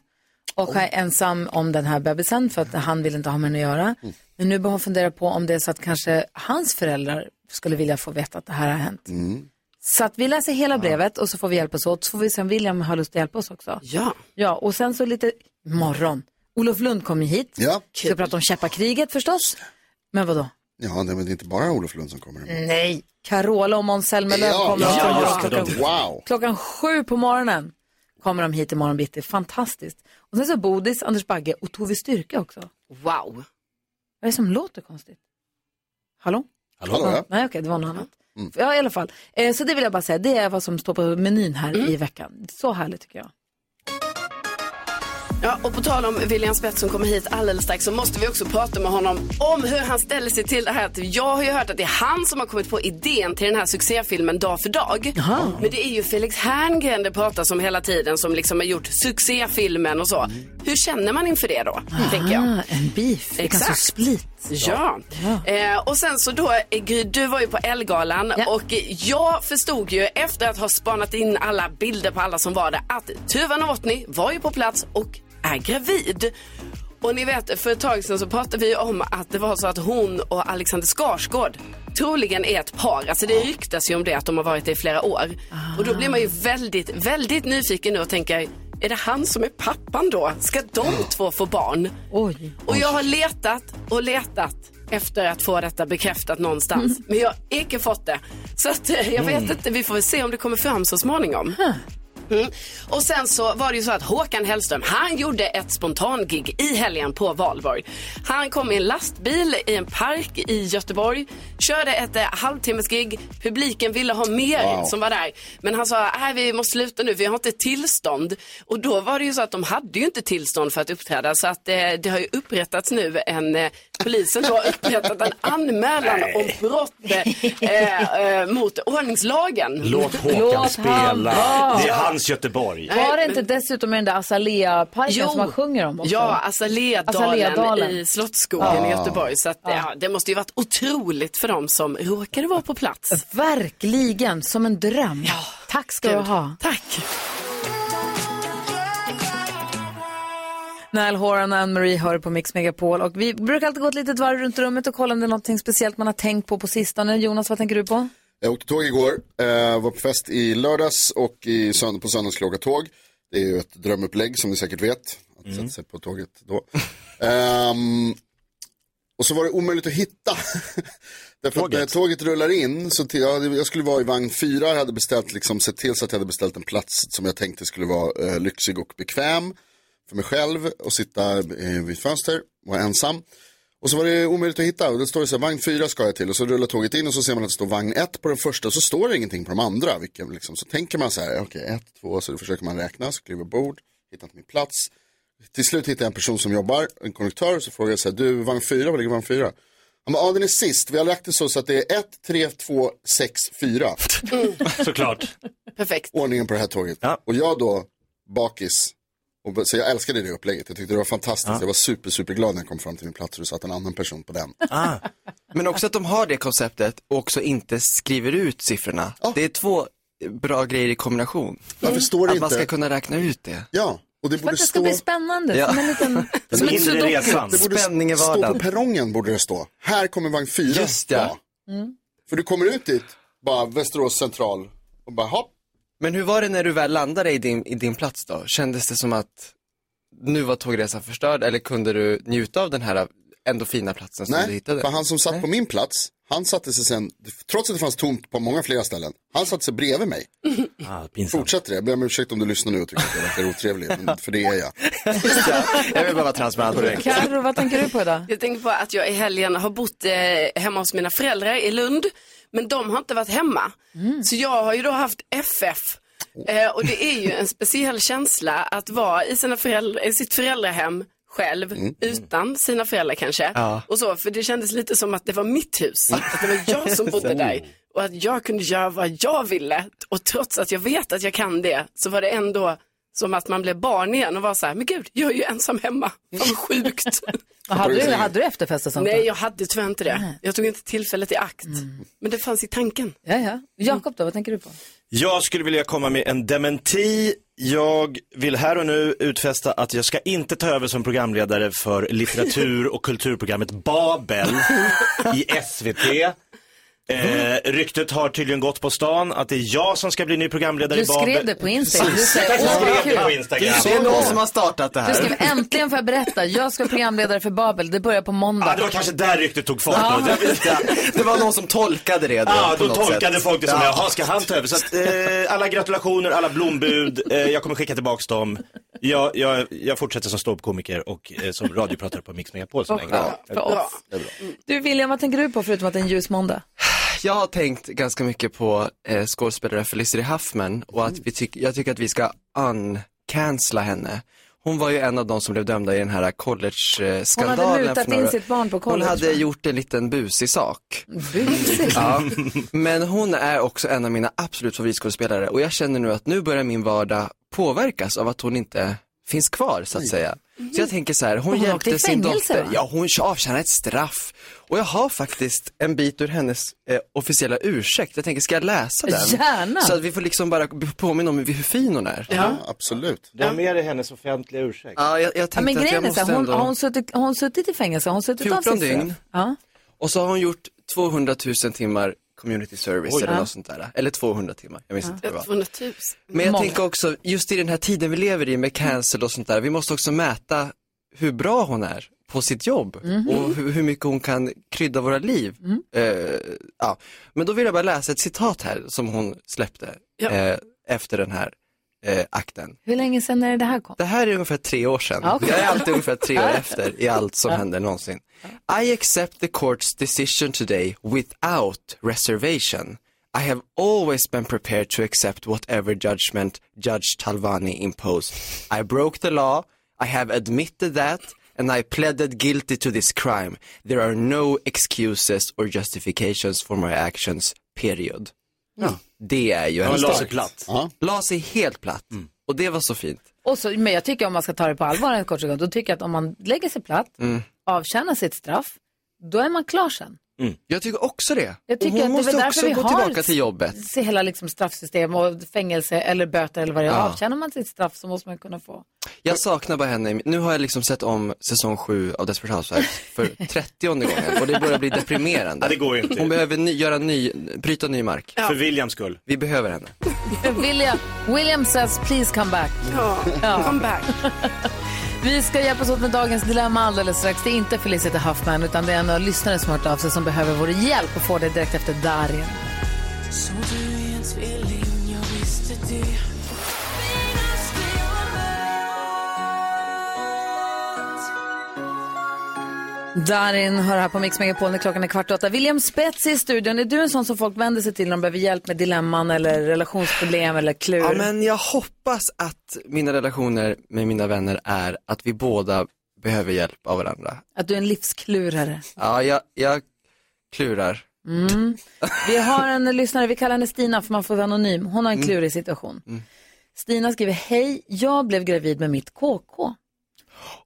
Och är ensam om den här bebisen för att han vill inte ha med henne att göra. Men nu börjar hon fundera på om det är så att kanske hans föräldrar skulle vilja få veta att det här har hänt. Så att vi läser hela brevet och så får vi hjälpas åt. Så får vi se om William har lust att hjälpa oss också. ja. Ja, och sen så lite morgon. Olof Lund kom ju hit. Ja. Ska prata om käppakriget förstås. Men vadå? Ja, nej, men det är inte bara Olof Lund som kommer. Nej. Carola och Måns Zelmerlöw kommer också ja, imorgon. just det, de- klockan, Wow. klockan sju på morgonen. Kommer de hit imorgon bitti. Fantastiskt. Och sen så Bodis, Anders Bagge och Tove Styrke också. Vad Wow. är det som låter konstigt? Hallå? Hallå, ja. Nej, okej, det var något annat. Mm. Ja, i alla fall. Eh, så det vill jag bara Mm. säga, det är vad som står på menyn här i veckan. Så härligt tycker jag. Ja, och på tal om William Spets som kommer hit alldeles strax så måste vi också prata med honom om hur han ställer sig till det här. Att Jag har ju hört att det är han som har kommit på idén till den här succéfilmen Dag för dag. Men det är ju Felix Herngren det pratas om hela tiden som liksom har gjort succéfilmen och så. Hur känner man inför det då, Mm. tänker jag? Ah, en beef. Det kan Exakt. så split. Ja. Eh, och sen så då, eh, Gry, du var ju på Ellegalan Ja. och eh, jag förstod ju efter att ha spanat in alla bilder på alla som var där att Tuva Novotny var ju på plats och är gravid. Och ni vet, för ett tag sedan så pratade vi ju om att det var så att hon och Alexander Skarsgård troligen är ett par. Alltså det ryktas ju om det att de har varit det i flera år. Och då blir man ju väldigt, väldigt nyfiken nu och tänker, är det han som är pappan då? Ska de två få barn? Oj. Och jag har letat och letat efter att få detta bekräftat någonstans. Men jag har icke fått det. Så att, eh, jag vet inte, vi får väl se om det kommer fram så småningom. Mm. Och sen så var det ju så att Håkan Hellström, han gjorde ett spontangig i helgen på Valborg. Han kom i en lastbil i en park i Göteborg, körde ett eh, halvtimmesgig. Publiken ville ha mer Wow. som var där. Men han sa, nej vi måste sluta nu, vi har inte tillstånd. Och då var det ju så att de hade ju inte tillstånd för att uppträda. Så att eh, det har ju upprättats nu en, eh, polisen då har upprättat en anmälan om brott eh, eh, mot ordningslagen. Låt Håkan Låt han spela. vara. Det är hans Göteborg. Var det men- inte dessutom i den där azalea-parken Jo. som man sjunger om också? Ja, Azaleadalen Azaleadalen. i Slottsskogen i Göteborg. Så att, Alltså, ja, det måste ju varit otroligt för dem som råkade vara på plats. Verkligen, som en dröm. Tack ska du Gud. ha. Tack. Nal Horan och Ann-Marie hör på Mix Megapol. Och vi brukar alltid gå ett litet varv runt rummet och kolla om det är någonting speciellt man har tänkt på på sistone. Jonas, vad tänker du på? Jag åkte tåg igår, eh, var på fest i lördags och i sönd- på söndags klockan tåg. Det är ju ett drömupplägg som ni säkert vet, att sätta sig på tåget då. Ehm, och så var det omöjligt att hitta. Därför att när tåget rullar in, så till, ja, det- jag skulle vara i vagn fyra, jag hade beställt, liksom, sett till så att jag hade beställt en plats som jag tänkte skulle vara eh, lyxig och bekväm för mig själv och sitta eh, vid ett fönster, vara ensam. Och så var det omöjligt att hitta. Och det står det så här, vagn 4 ska jag till. Och så rullar tåget in och så ser man att det står vagn 1 på den första. Och så står det ingenting på de andra. Vilken, liksom. Så tänker man så här, okej, 1, 2, så då försöker man räkna. Så kliver jag bord, hittar inte min plats. Till slut hittar jag en person som jobbar, en konduktör. Så frågar jag så här, du, vagn 4, var ligger vagn 4? Han bara, ja den är sist. Vi har lagt det så, så att det är 1, 3, 2, 6, 4 Såklart. Perfekt. ordningen på det här tåget. Ja. Och jag då, bakis, och, så jag älskade det upplägget. Jag tyckte det var fantastiskt. Jag var super, superglad när jag kom fram till min plats och det satt en annan person på den. Ah. Men också att de har det konceptet och också inte skriver ut siffrorna. Ja. Det är två bra grejer i kombination. Varför står det Att inte? man ska kunna räkna ut det. Ja, och det För borde att det stå... ska bli spännande. Ja. Som en liten... Den inre sudoku. resan. Det borde Spänning i stå på vardagen. perrongen borde det stå. Här kommer vagn 4. Just det. Mm. För du kommer ut dit, bara Västerås central och bara hopp. Men hur var det när du väl landade i din, i din plats då? Kändes det som att nu var tågresan förstörd eller kunde du njuta av den här ändå fina platsen som du Nej, hittade? för han som satt på min plats, han satte sig sen, trots att det fanns tomt på många flera ställen, han satte sig bredvid mig. Ah, pinsamt. Fortsätter det, jag ber om ursäkt om du lyssnar nu och tycker att jag verkar otrevlig, men för det är jag. Jag vill bara vara transparent med dig. Karo, vad tänker du på idag? Jag tänker på att jag i helgen har bott eh, hemma hos mina föräldrar i Lund, men de har inte varit hemma. Mm. Så jag har ju då haft FF. Eh, och det är ju en speciell känsla att vara i, sina föräldrar, i sitt föräldrahem själv, utan sina föräldrar kanske. Ja. Och så, för det kändes lite som att det var mitt hus, att det var jag som bodde där. Och att jag kunde göra vad jag ville. Och trots att jag vet att jag kan det, så var det ändå som att man blev barn igen och var så här, men gud, jag är ju ensam hemma. Vad sjukt. Hade du, hade du efterfest och sånt? då? Mm. Nej, jag hade tyvärr inte det. Jag tog inte tillfället i akt. Men det fanns i tanken. Ja, ja. Jakob då, vad tänker du på? Jag skulle vilja komma med en dementi. Jag vill här och nu utfästa att jag ska inte ta över som programledare för litteratur och kulturprogrammet Babel i SVT. Eh, ryktet har tydligen gått på stan att det är jag som ska bli ny programledare Du i Babel. skrev det på Instagram. Du Jag säger, åh vad skrev det på kul. Instagram. Det är någon som har startat det Du här. skrev äntligen får jag berätta, jag ska vara programledare för Babel, det börjar på Ja, måndag. det var kanske där ryktet tog fart. då. Det- Det var någon som tolkade det då, Ja, på då något tolkade sätt. folk det som, Ja. jaha, ska han ta över? Så att, eh, alla gratulationer, alla blombud, eh, jag kommer skicka tillbaks dem. Jag, jag, jag fortsätter som ståuppkomiker och eh, som radiopratare på Mix Megapol så länge. Bra. Du William, vad tänker du på förutom att det är en ljus måndag? Jag har tänkt ganska mycket på eh, Mm. skådespelaren Felicity Huffman och att vi tyck- jag tycker att vi ska uncancella henne. Hon var ju en av de som blev dömda i den här college-skandalen. Hon hade mutat för några- in sitt barn på college, Hon hade va? gjort en liten busig sak. Busig? Ja. Men hon är också en av mina absolut favoritskådespelare och jag känner nu att nu börjar min vardag påverkas av att hon inte finns kvar så att säga. Så Mm. jag tänker så här, hon, Hon åkte i hjälpte sin fängelse, dotter. va? Ja, hon avtjänar ett straff. Och jag har faktiskt en bit ur hennes eh, officiella ursäkt. Jag tänker, ska jag läsa den? Gärna. Så att vi får liksom bara påminna om hur hur fin hon är. Ja, absolut. Du har med dig hennes offentliga ursäkt. Ja, jag, jag Ja, tänkte men att jag grejen är måste så här, hon, ändå... har, hon suttit, har hon suttit i fängelse? Har hon suttit av 14 sitt dygn. straff? Ja. Och så har hon gjort 200 000 timmar community service Oj. eller Ja. något sånt där. Eller 200 timmar, jag minns inte vad det var. 200 000. Men jag tänker också, just i den här tiden vi lever i med cancel och sånt där, vi måste också mäta hur bra hon är på sitt jobb Mhm. och hur, hur mycket hon kan krydda våra liv. Eh, ja. Men då vill jag bara läsa ett citat här som hon släppte Ja. eh, efter den här eh, akten. Hur länge sedan är det det här kom? Det här är ungefär tre år sedan. Ja, okej. Jag är alltid ungefär tre år Ja. efter i allt som Ja. händer någonsin. I accept the court's decision today without reservation. I have always been prepared to accept whatever judgment Judge Talvani imposed. I broke the law, I have admitted that, and I pleaded guilty to this crime. There are no excuses or justifications for my actions, period. Ja. Det är ju Ja, en la sig start. platt. La sig helt platt. Och det var så fint. Och så, men jag tycker om man ska ta det på allvar en kort sekund, då tycker jag att om man lägger sig platt, Mm. avtjänar sitt straff, då är man klar sen. Jag tycker också det. Jag tycker och hon att det är måste väl därför också vi gå har tillbaka till jobbet. Se hela liksom straffsystem och fängelse eller böter eller vad det är. Ja. Avtjänar man sitt straff så måste man kunna få. Jag saknar bara henne. Nu har jag liksom sett om säsong 7 av Desperate Housewives för 30 gången och det börjar bli deprimerande. Ja, det går ju inte. Hon behöver ny, göra ny, bryta ny mark. Ja. För Williams skull. Vi behöver henne. William, William says please come back. Come back. Vi ska hjälpas åt med dagens dilemma alldeles strax. Det är inte Felicity Huffman utan det är en av lyssnare som har hört av sig som behöver vår hjälp och får det direkt efter Darin. Såg du en tvilling? Jag visste det. Darin hör här på Mix Megapol när klockan är kvart i åtta. William Spets är i studion. Är du en sån som folk vänder sig till när de behöver hjälp med dilemman eller relationsproblem eller klur? Ja, men jag hoppas att mina relationer med mina vänner är att vi båda behöver hjälp av varandra. Att du är en livsklurare. Ja, jag, jag klurar. Mm. Vi har en lyssnare, vi kallar henne Stina för man får vara anonym. Hon har en Mm. klurig situation. Mm. Stina skriver, hej, jag blev gravid med mitt KK.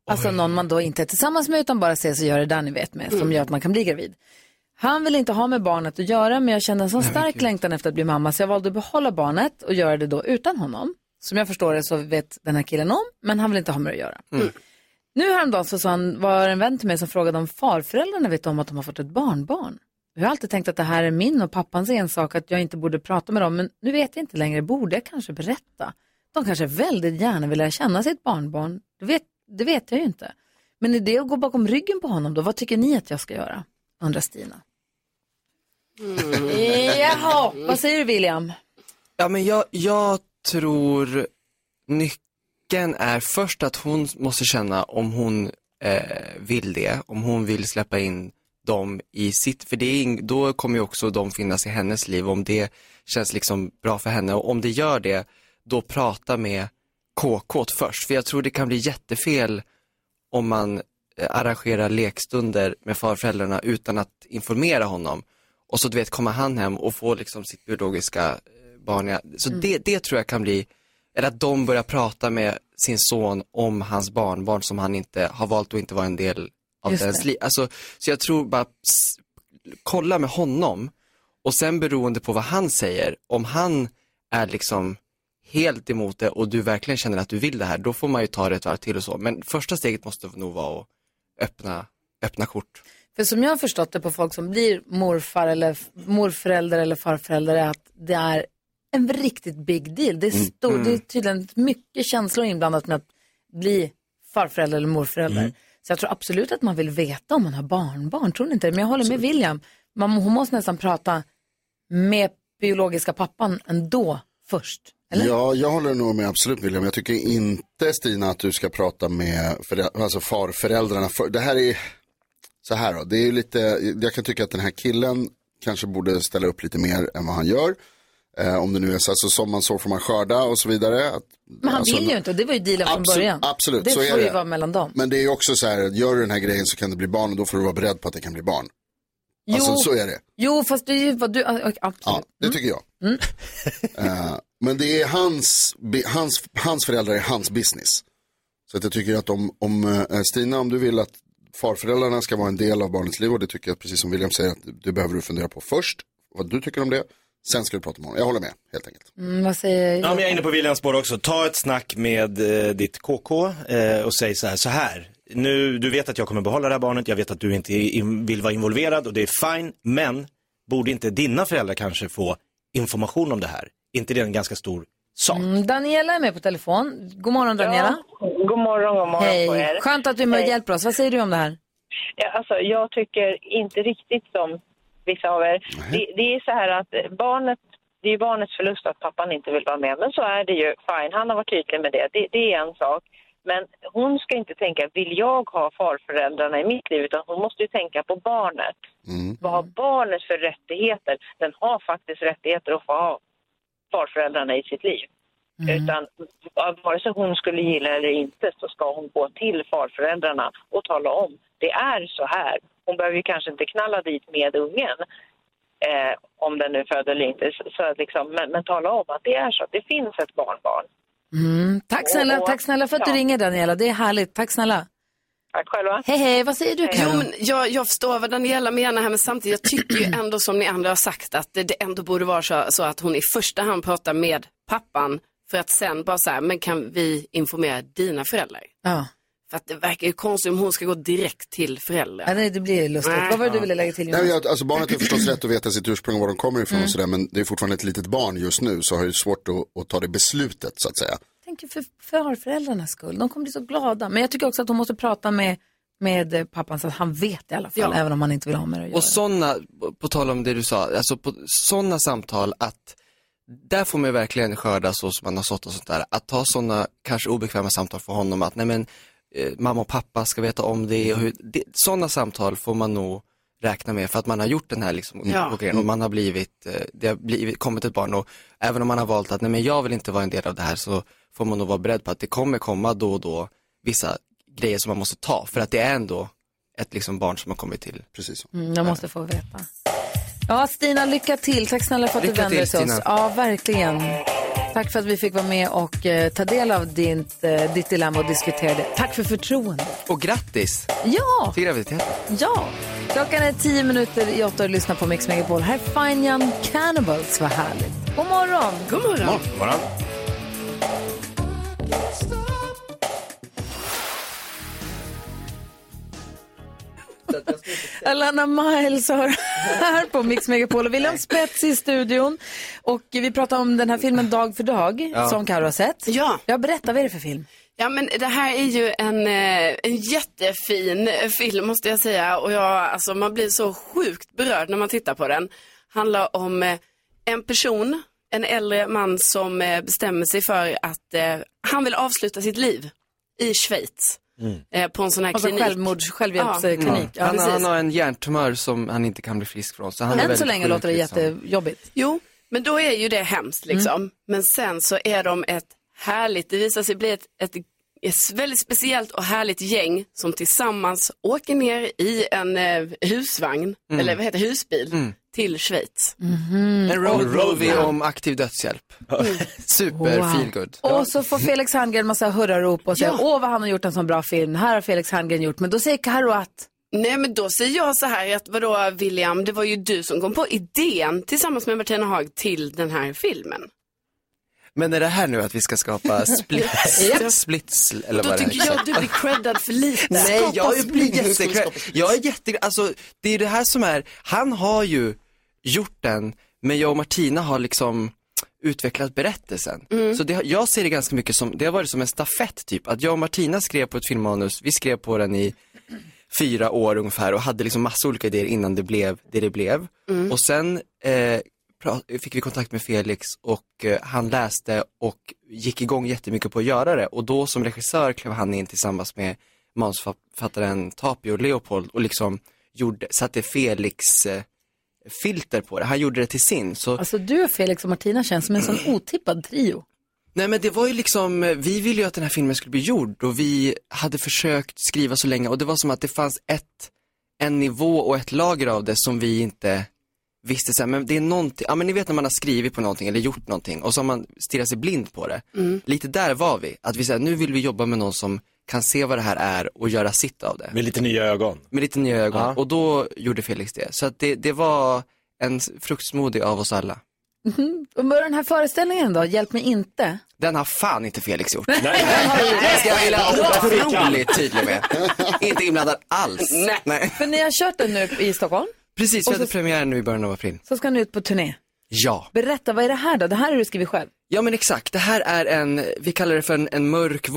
Alltså någon man då inte är tillsammans med utan bara ses och gör det där ni vet med, som Mm. gör att man kan bli gravid. Han vill inte ha med barnet att göra men jag kände en sån stark längtan efter att bli mamma så jag valde att behålla barnet och göra det då utan honom. Som jag förstår det så vet den här killen om men han vill inte ha med det att göra. Mm. Nu häromdagen så sa han, var en vän till mig som frågade om farföräldrarna vet om att de har fått ett barnbarn. Jag har alltid tänkt att det här är min och pappans ensak, att jag inte borde prata med dem, men nu vet jag inte längre, borde jag kanske berätta? De kanske väldigt gärna vill lära känna sitt barnbarn, det vet, det vet jag ju inte. Men är det att gå bakom ryggen på honom då? Vad tycker ni att jag ska göra? Undrar Stina. Mm. Jaha, vad säger du William? Ja, men jag, jag tror nyckeln är först att hon måste känna om hon eh, vill det, om hon vill släppa in dem i sitt, för det är ing, då kommer ju också de finnas i hennes liv om det känns liksom bra för henne och om det gör det, då prata med KK först, för jag tror det kan bli jättefel om man eh, arrangerar lekstunder med farföräldrarna utan att informera honom. Och så du vet, kommer han hem och får liksom sitt biologiska eh, barn. i- Så Mm. det, det tror jag kan bli, eller att de börjar prata med sin son om hans barnbarn som han inte har valt att inte vara en del av Just deras det. liv. Alltså, så jag tror bara, s- kolla med honom och sen beroende på vad han säger, om han är liksom helt emot det och du verkligen känner att du vill det här, då får man ju ta det ett varv till och så. Men första steget måste nog vara att öppna, öppna kort. För som jag har förstått det på folk som blir morfar eller f- morförälder eller farförälder är att det är en riktigt big deal. Det är, Mm. stor, Mm. det är tydligen mycket känslor inblandat med att bli farförälder eller morförälder. Mm. Så jag tror absolut att man vill veta om man har barnbarn, tror ni inte det? Men jag håller med William, man, hon måste nästan prata med biologiska pappan ändå först. Ja, jag håller nog med absolut William. Jag tycker inte Stina att du ska prata med förä- alltså farföräldrarna. För, det här är så här då, det är ju lite, jag kan tycka att den här killen kanske borde ställa upp lite mer än vad han gör. Eh, om det nu är så, alltså, som man sår får man skörda och så vidare. Att, Men han alltså, vill ju inte och det var ju dealen från Absolut, början. absolut, det så är får ju det. vara mellan dem. Men det är ju också så här, gör du den här grejen så kan det bli barn och då får du vara beredd på att det kan bli barn. Jo. Alltså så är det. Jo, fast det är ju vad du... ah, okej, ah, Ja, det tycker jag. Mm. Eh, men det är hans, bi- hans, hans föräldrar är hans business. Så att jag tycker att om, om eh, Stina, om du vill att farföräldrarna ska vara en del av barnets liv och det tycker jag precis som William säger att det behöver du fundera på först. Vad du tycker om det. Sen ska du prata med honom. Jag håller med helt enkelt. Mm, vad säger Ja, men jag är inne på Williams spår också. Ta ett snack med eh, ditt KK eh, och säg så här, så här. Nu, du vet att jag kommer behålla det här barnet, jag vet att du inte är in, vill vara involverad och det är fine, men borde inte dina föräldrar kanske få information om det här? inte det en ganska stor sak? Mm, Daniela är med på telefon. God morgon Daniela. God morgon, god morgon på Hej, er. skönt att du är med och Hej. hjälper oss. Vad säger du om det här? Ja, Alltså, jag tycker inte riktigt som vissa av er. Det, det är så här att barnet, det är barnets förlust att pappan inte vill vara med. Men så är det ju. Fine, han har varit tydlig med det. det. Det är en sak. Men hon ska inte tänka, vill jag ha farföräldrarna i mitt liv? Utan hon måste ju tänka på barnet. Mm. Vad har barnet för rättigheter? Den har faktiskt rättigheter att få ha farföräldrarna i sitt liv. Utan vare sig hon skulle gilla eller inte så ska hon gå till farföräldrarna och tala om det är så här. Hon behöver ju kanske inte knalla dit med ungen eh, om den nu föder eller inte. Så, så att liksom, men, men tala om att det är så, att det finns ett barnbarn. Mm, tack, snälla, Och- tack snälla för att du ja. ringer Daniela, det är härligt. Tack snälla. Tack själva. Hej, hej, vad säger du Jo, Karo? men jag, jag förstår vad Daniela menar här, men samtidigt, jag tycker ju ändå som ni andra har sagt att det, det ändå borde vara så, så att hon i första hand pratar med pappan för att sen bara så här, men kan vi informera dina föräldrar? Ja. För att det verkar ju konstigt om hon ska gå direkt till Ja, föräldrar. nej, det blir ju lustigt. Nej. Vad var det du ville lägga till Nej, men Jonas? jag, alltså barnet har förstås rätt att veta sitt ursprung och var de kommer ifrån Mm. och sådär, men det är fortfarande ett litet barn just nu så har jag ju svårt att, att ta det beslutet så att säga. tänker för, för föräldrarnas skull. De kommer bli så glada. Men jag tycker också att hon måste prata med, med eh, pappan så att han vet i alla fall, Ja. även om han inte vill ha med det att göra. Och sådana, på tal om det du sa, alltså på sådana samtal att där får man ju verkligen skörda så som man har sått och sånt där. Att ta sådana kanske obekväma samtal för honom att nej men eh, mamma och pappa ska veta om det och hur, det, sådana samtal får man nog räkna med för att man har gjort den här liksom, Ja. och grejen och man har blivit, eh, det har blivit, kommit ett barn och även om man har valt att nej men jag vill inte vara en del av det här så får man nog vara beredd på att det kommer komma då och då vissa grejer som man måste ta för att det är ändå ett liksom barn som har kommit till. Precis. Mm, jag måste få veta. Ja, Stina, lycka till. Tack snälla för att du Lycka vände dig till, till oss. Stina. Ja, verkligen. Tack för att vi fick vara med och eh, ta del av din, eh, ditt dilemma och diskutera det. Tack för förtroendet. Och grattis Ja! till graviditeten. Ja! Klockan är tio minuter i åtta och du lyssnar på Mix Megapol. Här är Fine Young Cannibals. Vad härligt. God morgon! God morgon! God morgon. Alana Miles har här på Mix Megapol och William Spets i studion. Och vi pratar om den här filmen Dag för dag Ja. som Karo har sett. Ja. Jag berättar, vad är det för film? Ja men det här är ju en, eh, en jättefin eh, film måste jag säga och jag, alltså, man blir så sjukt berörd när man tittar på den. Handlar om eh, en person, en äldre man som eh, bestämmer sig för att eh, han vill avsluta sitt liv i Schweiz. Mm. Eh, på en sån här Alltså klinik. självmords- självhjälpsklinik. Ja, han, precis. han har en hjärntumör som han inte kan bli frisk från. Så han är Än så väldigt länge sjuk, låter det liksom. Eh, jättejobbigt. Jo, men då är ju det hemskt Mm. liksom. Men sen så är de ett härligt, det visar sig bli ett, ett, ett väldigt speciellt och härligt gäng som tillsammans åker ner i en eh, husvagn, Mm. eller vad heter det, husbil, Mm. till Schweiz. Mhm. En road Och- movie om aktiv dödshjälp. Mm. Super Wow. feel good. Och så får Felix Herngren massa hurrarop och säger åh vad han har gjort en sån bra film, här har Felix Herngren gjort, men då säger Karo att Nej men då säger jag så här att vadå William, det var ju du som kom på idén tillsammans med Martina Haag till den här filmen. Men är det här nu att vi ska skapa splits, Ja. splits eller Då vad det tycker jag du blir creddad för lite. Nej, jag Skapa blir split. jättekrä... Jag är jätte... Alltså, det är det här som är... Han har ju gjort den, men jag och Martina har liksom utvecklat berättelsen. Så det, har- jag ser det ganska mycket som, det har varit som en stafett typ, att jag och Martina skrev på ett filmmanus, vi skrev på den i fyra år ungefär och hade liksom massa olika idéer innan det blev det det blev. Mm. Och sen eh, pra- fick vi kontakt med Felix och eh, han läste och gick igång jättemycket på att göra det och då som regissör klev han in tillsammans med manusförfattaren Tapio Leopold och liksom gjorde, satte Felix eh, filter på det. Han gjorde det till sin. Så Alltså du, Felix och Martina känns som en sån otippad trio. Nej men det var ju liksom, eh, vi ville ju att den här filmen skulle bli gjord och vi hade försökt skriva så länge och det var som att det fanns ett, en nivå och ett lager av det som vi inte visste så här, men det är någonting, ja men ni vet när man har skrivit på någonting eller gjort någonting och så har man stirrat sig blind på det. Mm. Lite där var vi, att vi säger nu vill vi jobba med någon som kan se vad det här är och göra sitt av det. Med lite nya ögon. Med lite nya ögon Ja. och då gjorde Felix det. Så att det, det var en fruktsmoothie av oss alla. Mhm. Och med den här föreställningen då, Hjälp mig inte. Den har fan inte Felix gjort. Nej. Det ska jag vilja Nej. vara otroligt tydlig med. Inte inblandad alls. Nej. För ni har kört den nu i Stockholm, Precis, Och vi så- hade premiär nu i början av april. så ska ni ut på turné. Ja. Berätta, vad är det här då? Det här har du skrivit själv. Ja men exakt, det här är en, vi kallar det för en, en mörk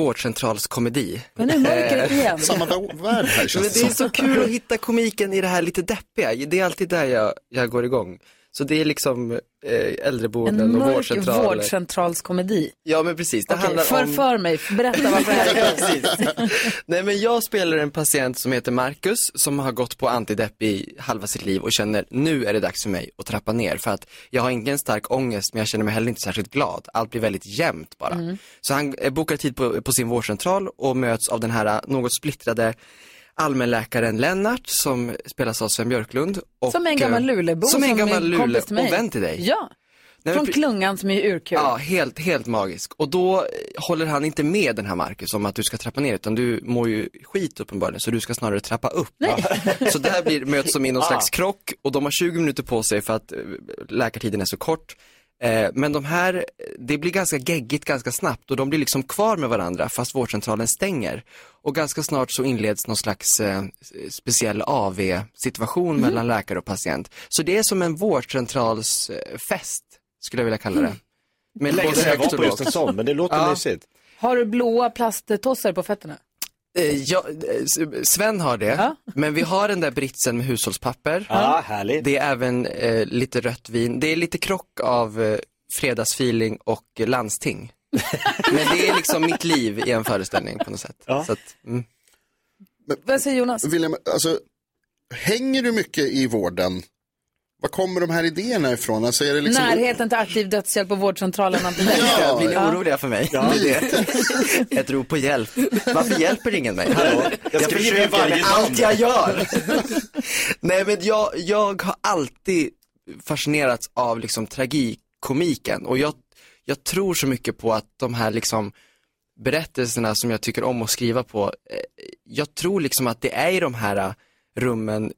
vårdcentralskomedi. Eh, Men nu mörker det igen. Samma värld Men det är så kul att hitta komiken i det här lite deppiga, det är alltid där jag, jag går igång. Så det är liksom eh, äldreboenden En och mörk vårdcentraler. vårdcentralskomedi. Ja men precis, det Okej, handlar för, om... för mig, berätta vad det här är. Nej men jag spelar en patient som heter Marcus som har gått på antidepp i halva sitt liv och känner nu är det dags för mig att trappa ner för att jag har ingen stark ångest men jag känner mig heller inte särskilt glad. Allt blir väldigt jämnt bara. Mm. Så han eh, bokar tid på, på sin vårdcentral och möts av den här eh, något splittrade allmänläkaren Lennart som spelas av Sven Björklund. Och, Som är en gammal eh, lulebo Som är en gammal kompis lule till mig. och vän till dig. Ja, Nej, men från pre- Klungan som är ju urkul. Ja, helt, helt magisk. Och då eh, håller han inte med den här Marcus om att du ska trappa ner, utan du mår ju skit uppenbarligen, så du ska snarare trappa upp. Ja. Så där blir, möts de i någon Ah. slags krock och de har 20 minuter på sig för att eh, läkartiden är så kort. Eh, Men de här, det blir ganska geggigt ganska snabbt och de blir liksom kvar med varandra fast vårdcentralen stänger. Och ganska snart så inleds någon slags eh, speciell AV-situation mellan läkare och patient. Så det är som en vårdcentralsfest, skulle jag vilja kalla det. Mm. Men Lägg både sig högt var och på just lågt. en sån, men det låter Ja. mysigt. Har du blåa plasttossar på fötterna? Eh, ja, eh, S- Sven har det, men vi har den där britsen med hushållspapper. Ja, Det är även eh, lite rött vin. Det är lite krock av eh, fredagsfeeling och eh, landsting. men det är liksom mitt liv i en föreställning på något sätt. Så att, mm. Vad säger Jonas? William, alltså, hänger du mycket i vården? Var kommer de här idéerna ifrån? Alltså, är det liksom... Närheten till aktiv dödshjälp på vårdcentralen. Ja, blir ni oroliga för mig? Ja. Det är det. Ett rop på hjälp. Varför hjälper ingen mig? Hallå? Jag, skriver försöker varje med dag. allt jag gör. Nej men jag, jag har alltid fascinerats av liksom tragikomiken och jag, jag tror så mycket på att de här liksom berättelserna som jag tycker om att skriva på, eh, jag tror liksom att det är i de här eh, rummen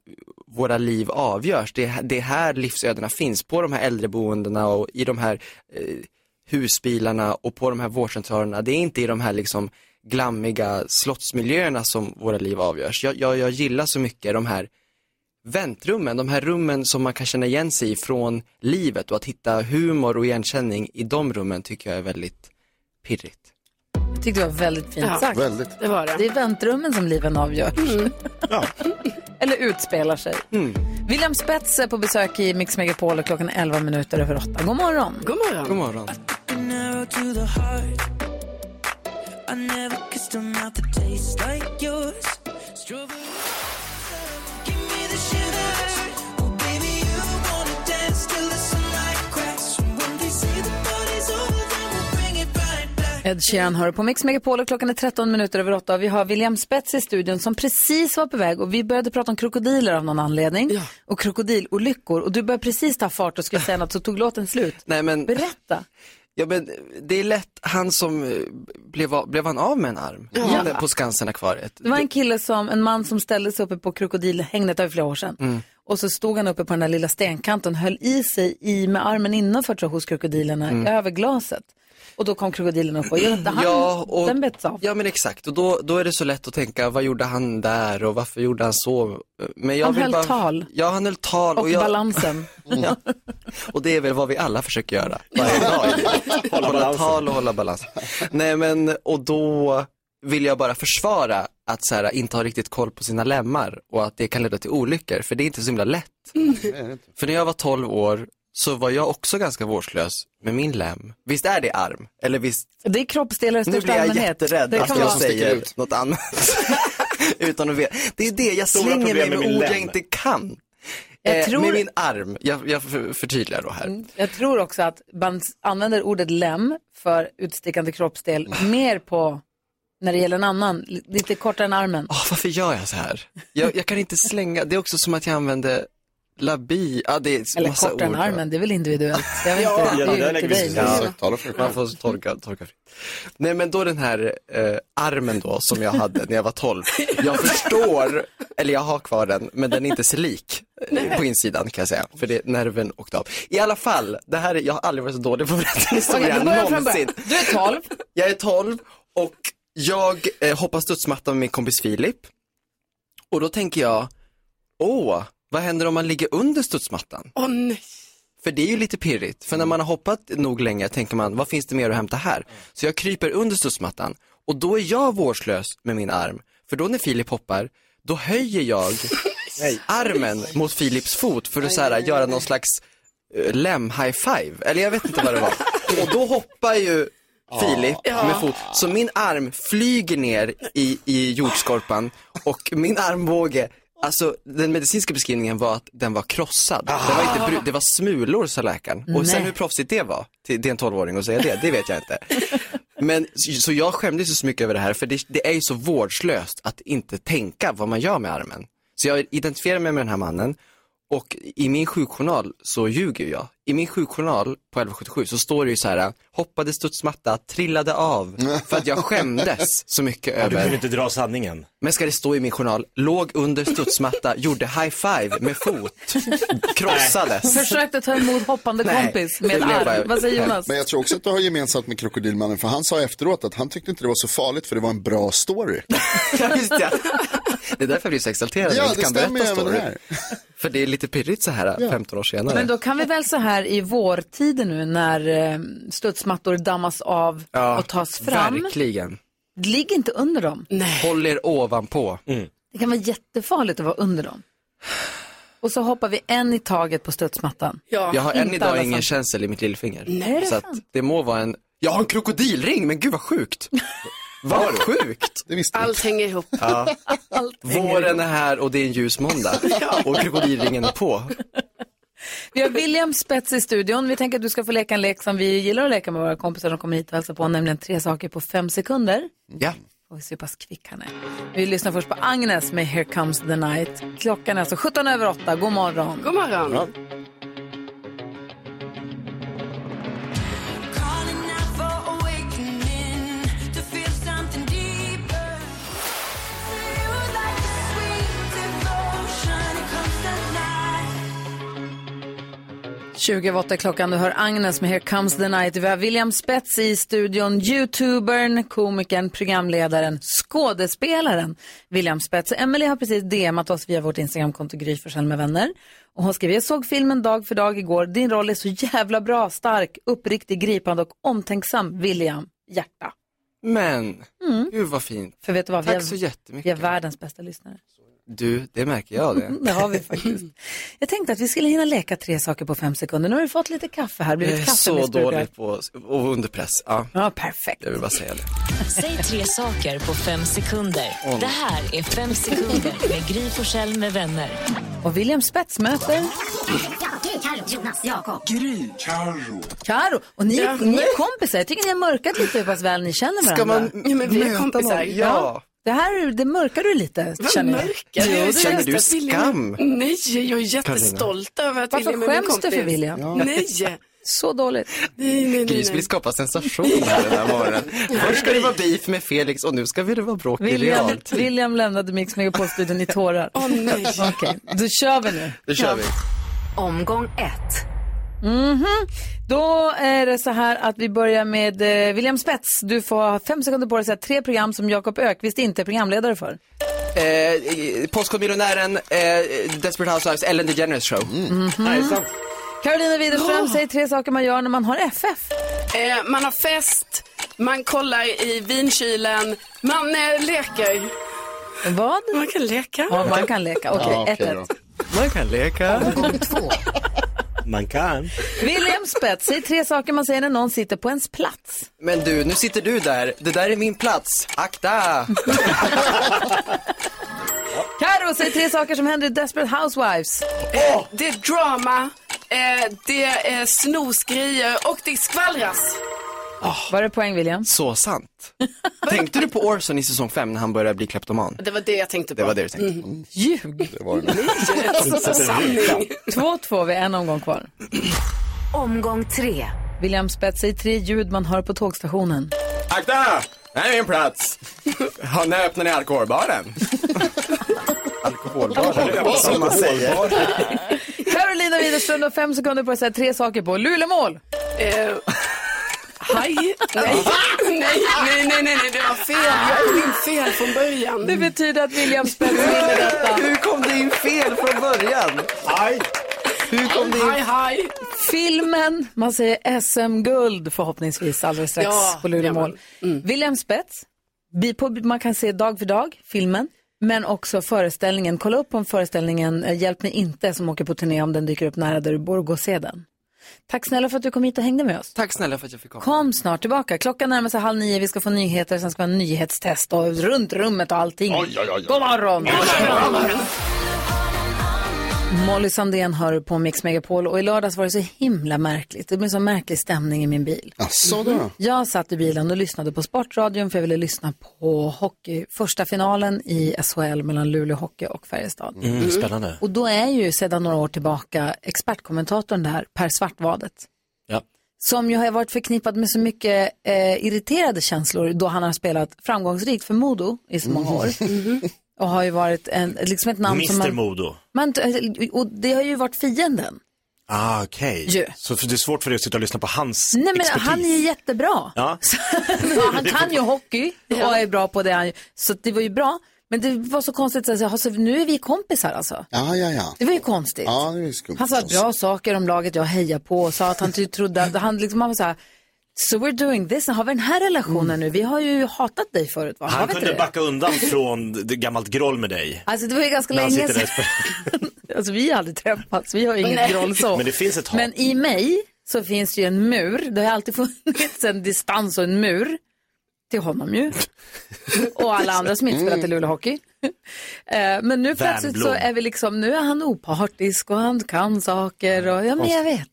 våra liv avgörs. Det är, här- det är här livsödena finns, på de här äldreboendena och i de här eh, husbilarna och på de här vårdcentralerna. Det är inte i de här liksom glammiga slottsmiljöerna som våra liv avgörs. Jag, jag, jag gillar så mycket de här väntrummen, de här rummen som man kan känna igen sig i från livet och att hitta humor och igenkänning i de rummen tycker jag är väldigt pirrigt. Jag tyckte det var väldigt fint Ja, sagt. väldigt. Det, var det. Mm. det är väntrummen som liven avgör. Eller utspelar sig. Mm. William Spets är på besök i Mix Megapol och klockan är 11 minuter över 8. God morgon. God morgon. God morgon. An arrow to the heart. I never kissed a mouth that tastes like yours. Strawberry. Give me the shivers. Oh, baby, you wanna dance till the sunlight cracks. And when they say the party's over, then we'll bring it right back. Ed Sheeran hör på Mix Megapol och klockan är 13 minuter över 8. Vi har William Spets i studion som precis var på väg och vi började prata om krokodiler av någon anledning och krokodilolyckor och du började precis ta fart och skulle säga något så tog låten slut. Nej, men... Berätta. Ja men det är lätt, han som, eh, blev, av- blev han av med en arm? Ja. Den På Skansen-akvariet. Det var en kille som, en man som ställde sig uppe på krokodilhängnet där för flera år sedan. Mm. Och så stod han uppe på den där lilla stenkanten, höll i sig i med armen innanför tror jag, hos krokodilerna Mm. över glaset. Och då kom krokodilen upp och hjälpte han. Ja, och- Den bets av. Ja men exakt, och då, då är det så lätt att tänka, vad gjorde han där och varför gjorde han så? Men jag Han vill höll bara... tal. Ja, han höll tal. Och, jag... balansen. Ja. Och det är väl vad vi alla försöker göra varje dag. hålla tal och hålla balans. Nej men, och då vill jag bara försvara att så här, inte ha riktigt koll på sina lemmar och att det kan leda till olyckor, för det är inte så himla lätt. För när jag var 12 år så var jag också ganska vårdslös med min lem. Visst är det arm? Eller visst? Det är kroppsdelar i Nu största blir jag allmänhet. jätterädd Det att kan jag vara- säger något annat. Utan att veta. Det är det, jag Stora slänger mig problem med med min ord jag lem. inte kan. Jag tror- Mm. Med min arm, jag, jag för- förtydligar då här. Jag tror också att man s- använder ordet lem för utstickande kroppsdel mer på när det gäller en annan, li- lite kortare än armen. Åh, varför gör jag så här? Jag, jag kan inte slänga, det är också som att jag använder labi, ja det är Eller massa kortare än ord. armen, det är väl individuellt. Jag vet inte, det är ju till dig. Man får torka, torka fritt. Nej men då den här eh, armen då som jag hade när jag var 12. Jag förstår, eller jag har kvar den, men den är inte så lik eh, på insidan kan jag säga. För det, nerven åkte av. I alla fall, det här, är- jag har aldrig varit så dålig på att berätta Okej, historia då börjar jag från någonsin. början. Du är 12. Jag är 12 och jag eh, hoppar studsmatta med min kompis Filip. Och då tänker jag, åh, vad händer om man ligger under studsmattan? Åh nej. För det är ju lite pirrigt, Mm. för när man har hoppat nog länge tänker man, vad finns det mer att hämta här? Så jag kryper under studsmattan och då är jag vårdslös med min arm. För då när Filip hoppar, då höjer jag armen mot Filips fot för att så här, göra någon slags eh, lem-high-five. Eller jag vet inte vad det var. Och då hoppar ju Filip Ja. med fot. Så min arm flyger ner i, i jordskorpan och min armbåge, alltså den medicinska beskrivningen var att den var krossad. Den var inte bru- det var smulor sa läkaren. Och sen Nej. hur proffsigt det var, till, det är en tolvåring att säga det, det vet jag inte. Men så- så jag skämdes ju så mycket över det här för det, det är ju så vårdslöst att inte tänka vad man gör med armen. Så jag identifierar mig med den här mannen och i min sjukjournal så ljuger jag. I min sjukjournal på 1177 så står det ju så här, hoppade studsmatta, trillade av för att jag skämdes så mycket Ja, du över. kunde inte dra sanningen. Men ska det stå i min journal, låg under studsmatta, gjorde high five med fot, krossades. Försökte ta emot hoppande Nej, kompis det med blev arm. bara- Vad säger Jonas? Men jag tror också att du har gemensamt med Krokodilmannen, för han sa efteråt att han tyckte inte det var så farligt för det var en bra story. Det är därför jag blir så exalterad när Ja, jag inte det kan stämmer berätta även story. här. För det är lite pirrigt så här 15 år senare. Men då kan vi väl så här i vårtider nu när eh, studsmattor dammas av Ja, och tas fram. Verkligen. Ligg inte under dem. Håll er ovanpå. Det kan vara jättefarligt att vara under dem. Och så hoppar vi en i taget på studsmattan. Jag har än Inte idag alla ingen sam- känsel i mitt lillfinger. Nej, är det så att det må vara en, jag har en krokodilring, men gud vad sjukt. vad sjukt. Allt hänger ihop. Ja. Våren är här och det är en ljus måndag. Och krokodilringen är på. Vi har William Spets i studion. Vi tänker att du ska få leka en lek som vi gillar att leka med våra kompisar som kommer hit och hälsar på, nämligen tre saker på fem sekunder. Ja. Får vi se hur pass kvick han är. Vi lyssnar först på Agnes med Here comes the night. Klockan är alltså 17 över 8. God morgon. God morgon. Like 20 över 8 är klockan. Du hör Agnes med Here comes the night. Vi har William Spets i studion. Youtubern, komikern, programledaren, skådespelaren William Spets. Emily har precis DMat oss via vårt Instagramkonto Gry Forssell med vänner. Och hon skrev, jag såg filmen dag för dag igår. Din roll är så jävla bra, stark, uppriktig, gripande och omtänksam, William. Hjärta. Men, Mm. gud vad fint. För vet du vad, vi Tack är, så jättemycket. vi är världens bästa lyssnare. Du, det märker jag det. Det har vi faktiskt. Jag tänkte att vi skulle hinna leka tre saker på fem sekunder. Nu har du fått lite kaffe här, Jag blivit är så kaffemissbrukare. dålig på, och under press. Ja. ja, perfekt. Jag vill bara säga det. Säg tre saker på fem sekunder. Åh, nej. Det här är Fem sekunder med Gry Forssell med vänner. Och William Spets möter Gry, Carro, Jonas, Jakob. Gry, Carro. Karo. Och ni, Ja. ni är kompisar. Jag tycker ni har mörkat lite hur pass väl ni känner varandra. Ska man Ja, men vi är möta kompisar. någon? Ja. Det här det mörkar du lite, Vad känner jag. mörkar Jo, det jag? gör Känner jag. du skam? Nej, jag är jättestolt över att Varför William är min skäms du kompis. för William? Ja. Nej. Så dåligt. Nej, nej, nej. Gris vill skapa sensation här den här morgonen. Först ska det vara beef med Felix och nu ska vi det vara bråk i William, realtid. William lämnade Mix Megapol-studion i tårar. Åh nej. Okej, då kör vi nu. Det kör vi. Omgång ett. Mhm. Då är det så här att vi börjar med eh, William Spets. Du får ha fem sekunder på dig att säga tre program som Jakob Ökvist inte är programledare för. Eh, eh, Postkodmiljonären, eh, Desperate Housewives, Ellen DeGeneres show. Mm. Nej, sant. Karolina Mhm. Widerström Ja. säger tre saker man gör när man har FF. Eh, man har fest, man kollar i vinkylen, man eh, leker. Vad? Man kan leka. Ja, man kan leka. Okej, ett, ett. Man kan leka. Man kan. William Spets, säg tre saker man säger när någon sitter på ens plats. Men du, nu sitter du där. Det där är min plats. Akta! Karo, Karo säg tre saker som händer i Desperate Housewives. Eh, Det är drama, eh, det är snosgrejer och det skvallras. Ah. Var det poäng William? Så sant. Tänkte du på Orson i säsong 5 när han började bli kleptoman? Det var det jag tänkte på. Det var det du tänkte på. Mm. Ljug! Det var Två, två, vi har en omgång kvar. Omgång tre. William Spets, säg tre ljud man hör på tågstationen. Akta! Här är min plats. Ja, när öppnar ni alkoholbaren? Alkoholbaren, det är som man säger. Carolina Widerström, du har fem sekunder på dig att säga tre saker på Lulemål. Eh, Haj? Nej. nej, nej, nej, nej, det var fel. Jag kom in fel från början. Det betyder att William Spets vinner detta. Hur kom det in fel från början? Aj! Hur kom det in? Haj, haj. Filmen, man säger SM-guld förhoppningsvis alldeles strax Ja, på Lulemål. William Spets, vi på, man kan se dag för dag, filmen, men också föreställningen. Kolla upp om föreställningen eh, Hjälp mig inte som åker på turné om den dyker upp nära där du bor, gå och se den. Tack snälla för att du kom hit och hängde med oss. Tack snälla för att jag fick komma. Kom snart tillbaka. Klockan närmar sig halv nio, vi ska få nyheter, sen ska vi ha en nyhetstest och runt rummet och allting. Oj, oj, oj, oj. God morgon! Molly Sandén hör på Mix Megapol och i lördags var det så himla märkligt. Det blev så märklig stämning i min bil. Mm. Asså då? Jag satt i bilen och lyssnade på Sportradion för jag ville lyssna på hockey, första finalen i SHL mellan Luleå Hockey och Färjestad. Mm, spännande. Och då är ju sedan några år tillbaka expertkommentatorn där, Per Svartvadet Ja. som ju har varit förknippad med så mycket eh, irriterade känslor då han har spelat framgångsrikt för Modo i så många år. Och har ju varit en, liksom ett namn som Mr man, Modo. man... eh, Och det har ju varit fienden. Ah, okej. Ja. Så för det är svårt för dig att sitta och lyssna på hans Nej men expertis? han är ju jättebra. Ja. han kan ju hockey och är bra på det han Så det var ju bra. Men det var så konstigt, så att säga, "Jaha, så nu är vi kompisar alltså. Ja, ja, ja. Det var ju konstigt. Ja, det är ju skumt. Han sa alltså. förstås. bra saker om laget jag hejar på och sa att han ty- trodde att han liksom, han var så här, so we're doing this, har vi den här relationen nu? Vi har ju hatat dig förut va? Har Mm. Han vi inte kunde det? backa undan från det gammalt groll med dig. Alltså det var ju ganska När han länge sitter där sedan, och spelar. alltså vi har aldrig träffats, vi har ju inget Nej. groll så. Men det finns ett hat. Men i mig så finns det ju en mur, det har alltid funnits en distans och en mur. Till honom ju. Och alla andra som inte spelat Mm. i Luleå Hockey. Eh, Men nu plötsligt så Värnblom. är vi liksom, nu är han opartisk och han kan saker och ja men jag vet.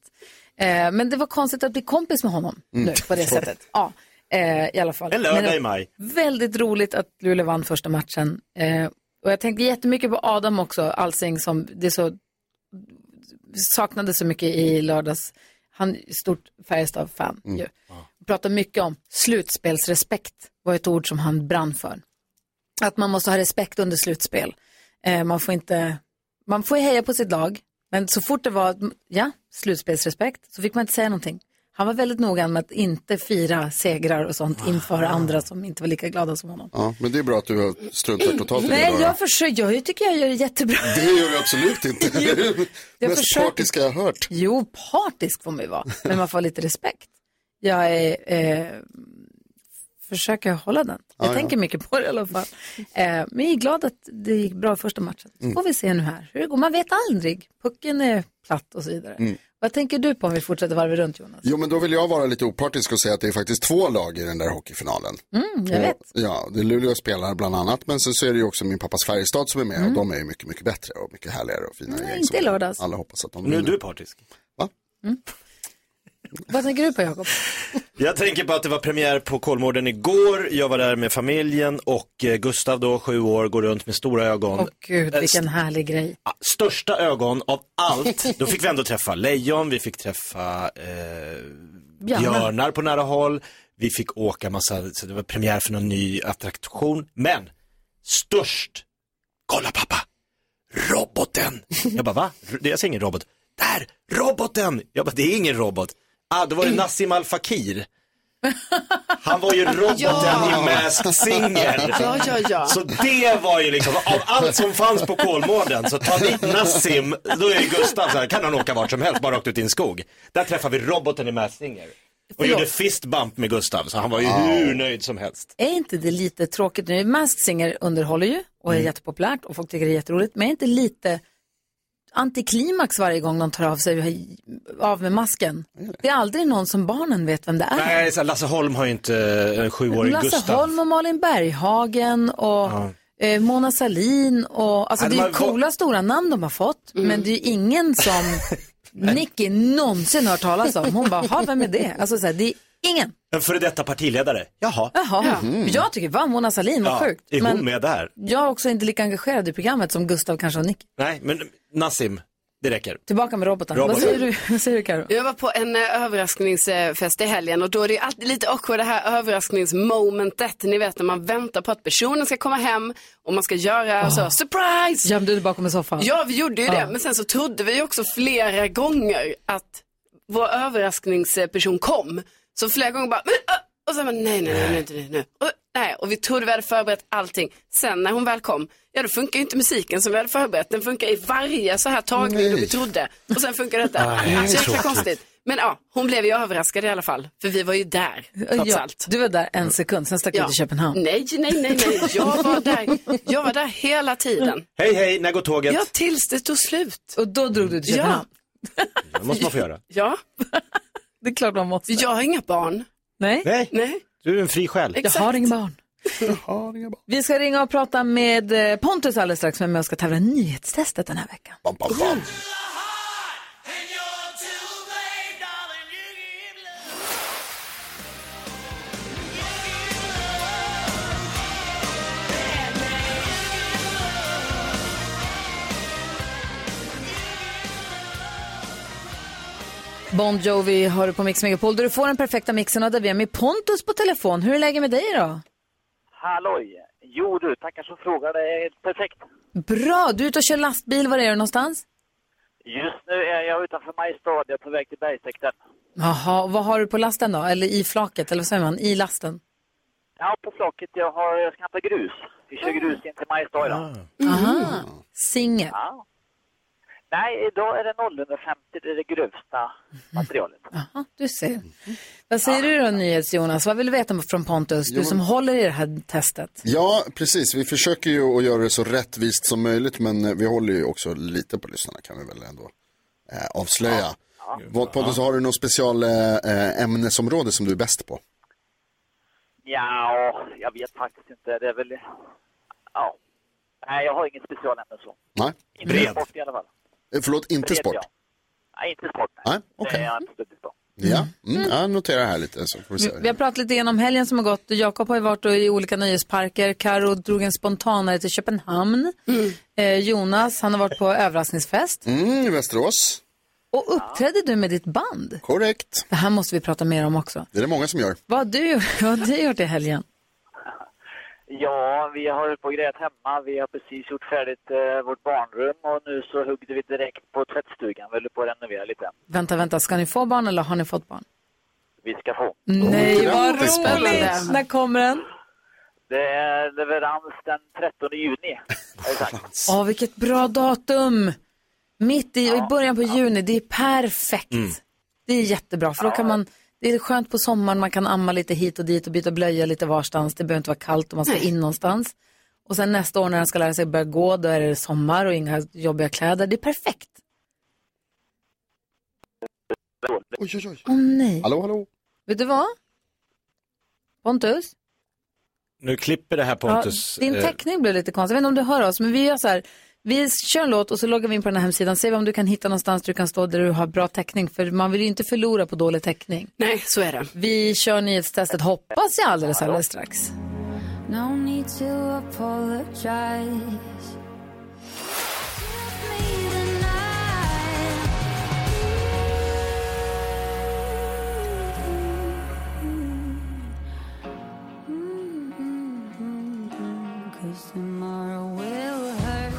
Eh, Men det var konstigt att bli kompis med honom Mm. nu på det sättet. Ja, eh, i alla fall. En Men det lördag var i maj. Väldigt roligt att Luleå vann första matchen. Eh, och jag tänkte jättemycket på Adam också, Alsing, som det så saknade så mycket i lördags. Han är stort Färjestad-fan ju. Pratar mycket om slutspelsrespekt, var ett ord som han brann för. Att man måste ha respekt under slutspel. Eh, man får inte, man får heja på sitt lag, men så fort det var, ja, slutspelsrespekt, så fick man inte säga någonting. Han var väldigt noga med att inte fira segrar och sånt inför andra som inte var lika glada som honom. Ja, men det är bra att du har struntat totalt i det. Nej, då. jag försöker, jag tycker jag gör det jättebra. Det gör du absolut inte. Det är det Jag mest försöker. partiska jag har hört. Jo, partisk får man ju vara, men man får ha lite respekt. Jag är, eh, försöker hålla den. Jag Ja, ja. tänker mycket på det i alla fall. Eh, men jag är glad att det gick bra i första matchen. Så Mm. får vi se nu här hur det går. Man vet aldrig. Pucken är platt och så vidare. Mm. Vad tänker du på om vi fortsätter varvet runt, Jonas? Jo, men då vill jag vara lite opartisk och säga att det är faktiskt två lag i den där hockeyfinalen. Mm, jag vet. Och, ja, det är Luleå spelar bland annat, men sen så är det ju också min pappas Färjestad som är med och de är ju mycket, mycket bättre och mycket härligare och finare Mm. Nej, gäng. inte i som lördags. Alla hoppas att de Nu är vinner. du partisk. Vad tänker du på, Jakob? Jag tänker på att det var premiär på Kolmården igår. Jag var där med familjen och eh, Gustav då, sju år, går runt med stora ögon. Åh gud, Eh, vilken härlig grej. Ah, största ögon av allt. Då fick vi ändå träffa lejon, vi fick träffa eh, björnar på nära håll. Vi fick åka massa, så det var premiär för någon ny attraktion. Men störst, kolla pappa, roboten. Jag bara va? Det är ingen robot. Där, roboten! Jag bara det är ingen robot. Ah, då var det Nassim Al Fakir. Han var ju roboten Ja. i Masked Singer. Ja, ja, ja. Så det var ju liksom, av allt som fanns på Kolmården så ta dit Nassim, då är ju Gustav så här, kan han åka vart som helst, bara rakt ut i en skog. Där träffar vi roboten i Masked Singer. Och gjorde fist bump med Gustav, så han var ju Wow. hur nöjd som helst. Är inte det lite tråkigt nu? Masked Singer underhåller ju och är Mm. jättepopulärt och folk tycker det är jätteroligt. Men är inte lite antiklimax varje gång de tar av sig av med masken? Det är aldrig någon som barnen vet vem det är. Nej, så här, Lasse Holm har ju inte eh, en sjuårig Ah. Lasse Gustav. Holm och Malin Berghagen och Ja. eh, Mona Salin och... Alltså Nej, det de är ju har ju coola stora namn de har fått, Mm. men det är ju ingen som Nicky någonsin hört talas om. Hon bara, "Ha, vem är det? Alltså så här, det är ingen. En före detta partiledare. Jaha. Jaha, Mm. Mhm. jag tycker, va, Mona Salin, vad Ja, sjukt. Är hon Men med där? jag är också inte lika engagerad i programmet som Gustav kanske och Nicky. Nej, men Nassim, det räcker. Tillbaka med roboten. Roboten. Vad säger du, vad säger du Karo? Jag var på en eh, överraskningsfest i helgen och då är det ju alltid lite awkward det här överraskningsmomentet. Ni vet när man väntar på att personen ska komma hem och man ska göra så, surprise! Ah. Gömde du dig bakom en soffa? Ah. Ja, vi gjorde ju Ja. det, men sen så trodde vi ju också flera gånger att vår överraskningsperson kom. Så flera gånger bara, men, ö, och sen bara, nej, nej, nej, nej, nej, nej. Och, nej. Och vi trodde vi hade förberett allting. Sen när hon väl kom, ja då funkar ju inte musiken som vi hade förberett. Den funkar i varje så här tagning då vi trodde. Och sen funkar detta. Nej, så jäkla tråkigt. konstigt. Men ja, hon blev ju överraskad i alla fall. För vi var ju där, trots Ja, allt. Du var där en Mm. sekund, sen stack du Ja. till Köpenhamn. Nej, nej, nej, nej. Jag var där, jag var där hela tiden. Hej, hej, när går tåget? Ja, tills det tog slut. Och då drog du till Köpenhamn? Det måste man få göra. Ja. Det är klart man måste. Jag har inga barn. Nej. Nej. Nej. Du är en fri själ. Jag har inga barn. Vi ska ringa och prata med eh, Pontus alldeles strax, som är med och ska tävla i nyhetstestet den här veckan. Bam, bam, bam. Bon Jovi har du på Mix Megapol där du får den perfekta mixen och där vi är med Pontus på telefon. Hur är läget med dig då? Halloj! Jo du, tackar som frågar. Det är perfekt. Bra, du är ute och kör lastbil. Var är du någonstans? Just nu är jag utanför Mariestad. Jag är på väg till bergstäkten. Jaha, vad har du på lasten då? Eller i flaket, eller vad säger man? I lasten? Ja, på flaket. Jag, har, jag ska hämta grus. Vi kör grus in till Mariestad idag. Mm. Aha, singel. Mm. Ja. Nej, eh, idag är det 050. Det är det grövsta materialet. Jaha, du ser. Vad säger du då, NyhetsJonas? Vad vill du veta från Pontus, du Jo, som håller i det här testet? Ja, precis. Vi försöker ju att göra det så rättvist som möjligt, men eh, vi håller ju också lite på lyssnarna kan vi väl ändå eh, avslöja. Vad- Pontus, har du något special eh, ämnesområde som du är bäst på? Ja, jag vet faktiskt inte. Det är väl... Ja. Nej, jag har inget specialämne så. Nej? Inte sport i alla fall. Eh, Förlåt, inte Bred, sport? ja. Nej, inte sport. Nej, Det är jag absolut inte. Ja, mm, jag noterar här lite så får vi se. Vi har pratat lite grann om helgen som har gått. Jakob har ju varit då i olika nöjesparker. Karo drog en spontanare till Köpenhamn. Mm. Eh, Jonas, han har varit på överraskningsfest. Mm, i Västerås. Och uppträdde du med ditt band? Korrekt. Det här måste vi prata mer om också. Det är det många som gör. Vad har du, vad har du gjort i helgen? Ja, vi har hållit på och grejat hemma. Vi har precis gjort färdigt eh, vårt barnrum och nu så huggde vi direkt på tvättstugan. Vi håller på att renovera lite. Vänta, vänta, ska ni få barn eller har ni fått barn? Vi ska få. Nej, vad grattis, Pontus. roligt! När kommer den? Det är leverans den 13 juni. har vi sagt. Åh, vilket bra datum! Mitt i, och i början på juni, det är perfekt. Mm. Det är jättebra, för då kan man, det är skönt på sommaren, man kan amma lite hit och dit och byta blöja lite varstans. Det behöver inte vara kallt och man ska in någonstans. Och sen nästa år när den ska lära sig börja gå, då är det sommar och inga jobbiga kläder. Det är perfekt. Oj, oj, oj. Åh nej. Hallå, hallå. Vet du vad? Pontus? Nu klipper det här Pontus. Ja, din eh, teckning blev lite konstig. Jag vet inte om du hör oss, men vi gör så här. Vi kör en låt och så loggar vi in på den här hemsidan. Se om du kan hitta någonstans du kan stå där du har bra täckning. För man vill ju inte förlora på dålig täckning. Nej, så är det. Vi kör nyhetstestet, hoppas jag, alldeles, alldeles strax. No need to apologize.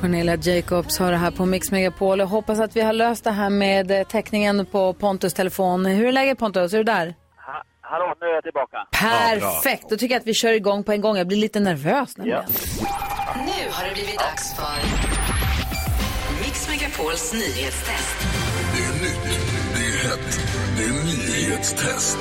Cornelia Jacobs har det här på Mix Megapol. Jag hoppas att vi har löst det här med eh, täckningen på Pontus telefon. Hur är läget Pontus? Är du där? Ha, hallå, nu är jag tillbaka. Perfekt! Då tycker jag att vi kör igång på en gång. Jag blir lite nervös nämligen. Nu har det blivit dags för Mix Megapols nyhetstest. Det är nytt, det är hett, det är nyhetstest.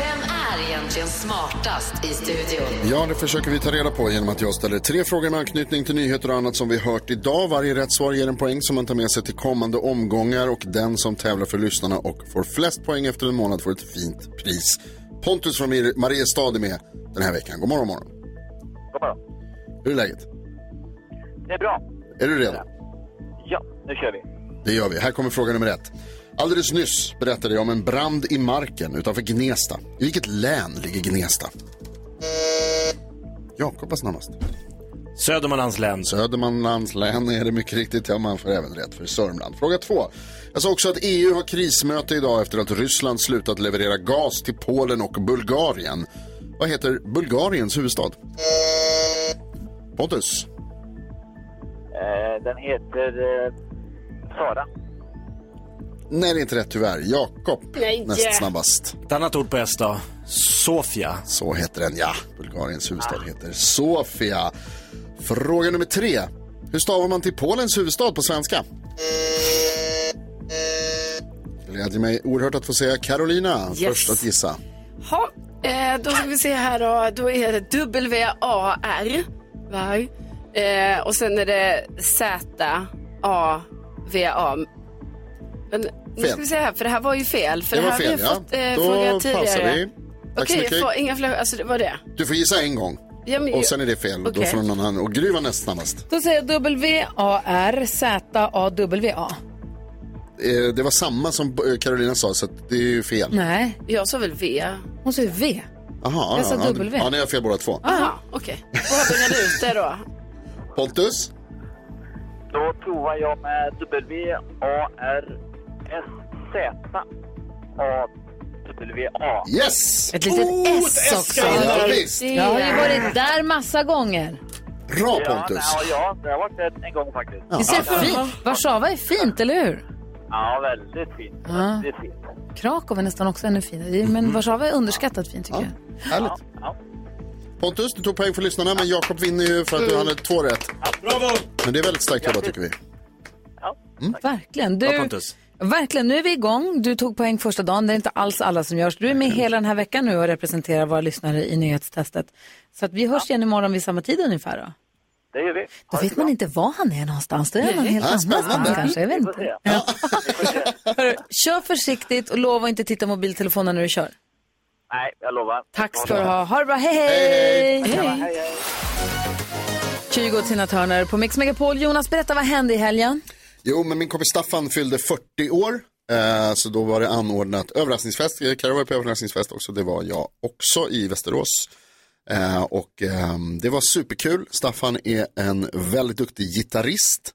Vem är egentligen smartast i studion? Ja, det försöker vi ta reda på genom att jag ställer tre frågor med anknytning till nyheter och annat som vi hört idag. Varje rätt svar ger en poäng som man tar med sig till kommande omgångar och den som tävlar för lyssnarna och får flest poäng efter en månad får ett fint pris. Pontus från Mir- Mariestad är med den här veckan. God morgon, morgon. God morgon. Hur är läget? Det är bra. Är du redo? Ja, nu kör vi. Det gör vi. Här kommer fråga nummer ett. Alldeles nyss berättade jag om en brand i marken utanför Gnesta. I vilket län ligger Gnesta? Jakob var snabbast. Södermanlands län. Södermanlands län är det mycket riktigt. Ja, man får även rätt för Sörmland. Fråga två. Jag sa också att EU har krismöte idag efter att Ryssland slutat leverera gas till Polen och Bulgarien. Vad heter Bulgariens huvudstad? Pontus. Eh, den heter eh, Sara. Nej, det är inte rätt tyvärr. Jakob, Nej. näst snabbast. Ett annat ord på S då. Sofia. Så heter den, ja. Bulgariens huvudstad heter Sofia. Fråga nummer tre. Hur stavar man till Polens huvudstad på svenska? Det gläder mig oerhört att få säga Carolina Yes. först att gissa. Ha, eh, då ska vi se här då. Då är det W-A-R. Var. Eh, och sen är det Z-A-V-A. Men nu Fel. ska vi se här, för det här var ju fel. För Det det, var här fel, vi ja. fått eh, Då fråga pausar tidigare. vi. Tack så Okej, mycket. jag får inga fler. Alltså, det var det. Du får gissa en gång. Ja, men ju- Och sen är det fel. Då Okej. får någon annan. Och Gry var näst snabbast. Då säger jag W-A-R-Z-A-W-A. Eh, Det var samma som eh, Carolina sa, så att det är ju fel. Nej. Jag sa väl V? Hon sa ju V. Aha, Jag sa ja, ja, W. Ja, ni har fel båda två. Ah. Aha, okej. Får jag bringa ut det då? Pontus? Då provar jag med W-A-R-S-Z-A-W-A. Yes! Ett litet Oh, ett S också. S, ja, Ja, visst. Jag har ju varit där massa gånger. Bra Pontus. Ja, nej, ja, det har varit en, en gång faktiskt. Det ser fint. Warszawa är fint, eller hur? Ja, väldigt fint. Ja. Väldigt fint. Krakow är nästan också ännu finare. Det är- Mm. Men Warszawa är underskattat fint tycker jag. Härligt. Pontus, du tog poäng för lyssnarna, men Jakob vinner ju för att du hade två rätt. Bravo! Men det är väldigt starkt jobbat tycker vi. Mm. Verkligen. Du, verkligen, nu är vi igång. Du tog poäng första dagen. Det är inte alls alla som gör. Så du är med hela den här veckan nu och representerar våra lyssnare i nyhetstestet. Så att vi hörs igen imorgon vid samma tid ungefär då. Det gör vi. Då vet man inte var han är någonstans. Då är Nej. han helt Ja, annanstans spännande. kanske. Jag vet Vi får se. inte. Ja. Hörru, Kör försiktigt och lova att inte titta på mobiltelefonen när du kör. Nej, jag lovar. Tack ska du ha. Ha det bra. Hej, hej! Kygo och Tina Turner på Mix Megapol. Jonas, berätta vad hände i helgen? Jo, men min kompis Staffan fyllde 40 år. Eh, så då var det anordnat överraskningsfest. Eh, Karo var på överraskningsfest också. Det var jag också i Västerås. Eh, och ehm, det var superkul. Staffan är en väldigt duktig gitarrist.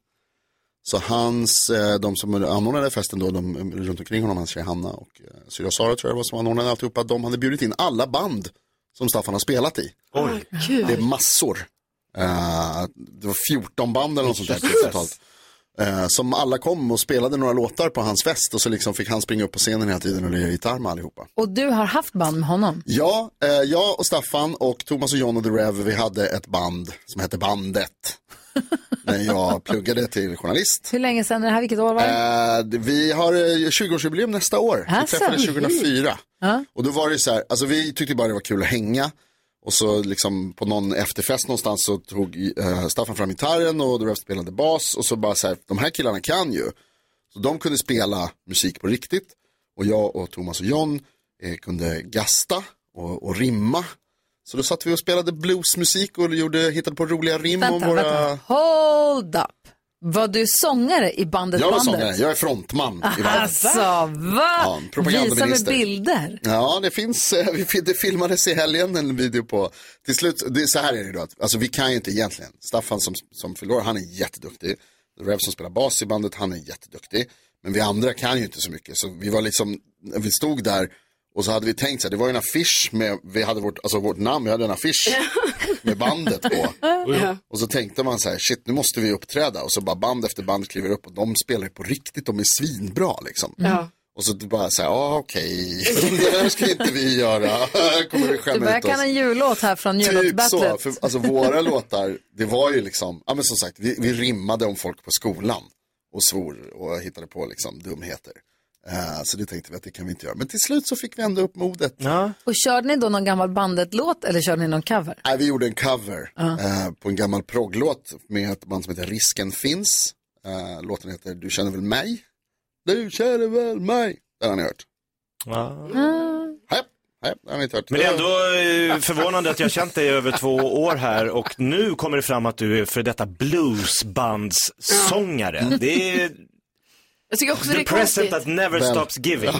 Så hans, eh, de som anordnade festen då, de eh, runt omkring honom, hans tjej Hanna och eh, syrra Sara tror jag det var som anordnade alltihopa. De hade bjudit in alla band som Staffan har spelat i. Oj. Det är massor. Eh, det var 14 band eller något sånt där Jesus. totalt. Eh, som alla kom och spelade några låtar på hans fest och så liksom fick han springa upp på scenen hela tiden och lira gitarr med allihopa. Och du har haft band med honom. Ja, eh, jag och Staffan och Thomas och John och The Rev, vi hade ett band som hette Bandet. när jag pluggade till journalist. Hur länge sedan är det här? Vilket år var det? Eh, vi har eh, 20-årsjubileum nästa år. Alltså. Vi träffades 2004. Ja. Och då var det så här, alltså vi tyckte bara det var kul att hänga. Och så liksom på någon efterfest någonstans så tog eh, Staffan fram gitarren och Dorough spelade bas. Och så bara så här, de här killarna kan ju. Så de kunde spela musik på riktigt. Och jag och Thomas och John eh, kunde gasta och, och rimma. Så då satt vi och spelade bluesmusik och gjorde, hittade på roliga rim Vänta, om våra... vänta. Hold up. Var du sångare i bandet Jag var Bandet? sångare, jag är frontman i bandet. Alltså, va? Ja, Visa en med propagandaminister. bilder. Ja, det finns, eh, vi fin- det filmades i helgen en video på, till slut, det, så här är det då, att, alltså vi kan ju inte egentligen, Staffan som, som fyller år, han är jätteduktig, Rev som spelar bas i bandet, han är jätteduktig, men vi andra kan ju inte så mycket, så vi var liksom, när vi stod där och så hade vi tänkt så här, det var ju en affisch med, vi hade vårt, alltså vårt namn, vi hade en affisch med bandet på. Ja. Och så tänkte man så här, shit nu måste vi uppträda och så bara band efter band kliver upp och de spelar ju på riktigt, de är svinbra liksom. Ja. Och så bara så här, ah, okej, det här ska inte vi göra, Eh, kommer vi Du skämma börjar ut oss. kan en jullåt här från Typ så, jullåtsbattlet. för, alltså våra låtar, det var ju liksom, ja men som sagt, vi, vi rimmade om folk på skolan och svor och hittade på liksom dumheter. Eh, så det tänkte vi att det kan vi inte göra, men till slut så fick vi ändå upp modet. Och körde ni då någon gammal bandet-låt eller körde ni någon cover? Nej, vi gjorde en cover Ah. eh, på en gammal progglåt med ett band som heter Risken Finns. Eh, låten heter Du känner väl mig? Du känner väl mig? Den har ni hört. Ja. Mm. Nej, det har ni inte hört. Ah. Men det är ändå eh, förvånande att jag har känt dig i över två år här och nu kommer det fram att du är för detta bluesbandssångare. Det är Jag tycker också det the är present that konstigt. never stops giving.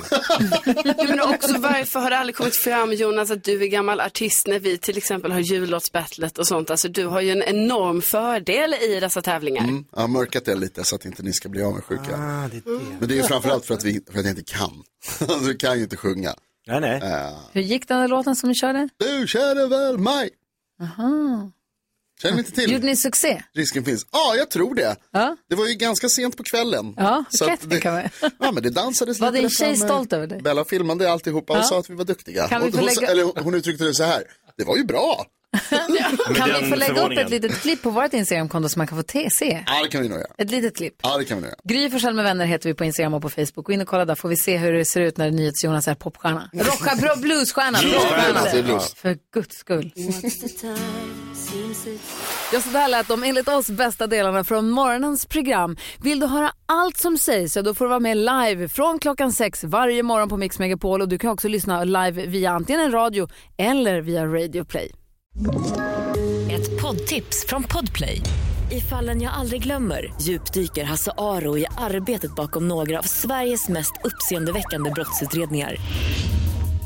Nej, men också varför har det aldrig kommit fram Jonas att du är gammal artist när vi till exempel har jullåtsbattlet och sånt. Alltså du har ju en enorm fördel i dessa tävlingar. Mm, jag har mörkat det lite så att inte ni ska bli avundsjuka. Ah, det. Men det är ju framförallt för att, vi, för att jag inte kan. du kan ju inte sjunga. Eh, Nej, nej. Hur gick den där låten som vi körde? Du käre väl mig. Aha. Känner ni inte till? Gjorde ni succé? Risken finns. Ja, ah, jag tror det. Det var ju ganska sent på kvällen. Ja, så att det, ja men det dansades Var lite din där tjej framme. stolt över dig? Bella filmade alltihopa och Ja. sa att vi var duktiga. Kan vi Och få hon, lägga- eller hon- hon uttryckte det så här. Det var ju bra. Kan vi få lägga upp ett litet klipp på vårt Instagramkonto så man kan få te- se? Ja, det kan vi nog göra. Ett litet klipp. Ja, det kan vi nog göra. Gry Forssell med vänner heter vi på Instagram och på Facebook. Gå in och kolla där får vi se hur det ser ut när NyhetsJonas är popstjärna. Rocka bra bluesstjärna. Bluesstjärna, det är blues. För guds skull. Ja, så där lät de enligt oss bästa delarna från morgonens program. Vill du höra allt som sägs så då får du vara med live från klockan sex varje morgon på Mix Megapol och du kan också lyssna live via antingen en radio eller via Radio Play. Ett poddtips från Podplay. I fallen jag aldrig glömmer djupdyker Hasse Aro i arbetet bakom några av Sveriges mest uppseendeväckande brottsutredningar.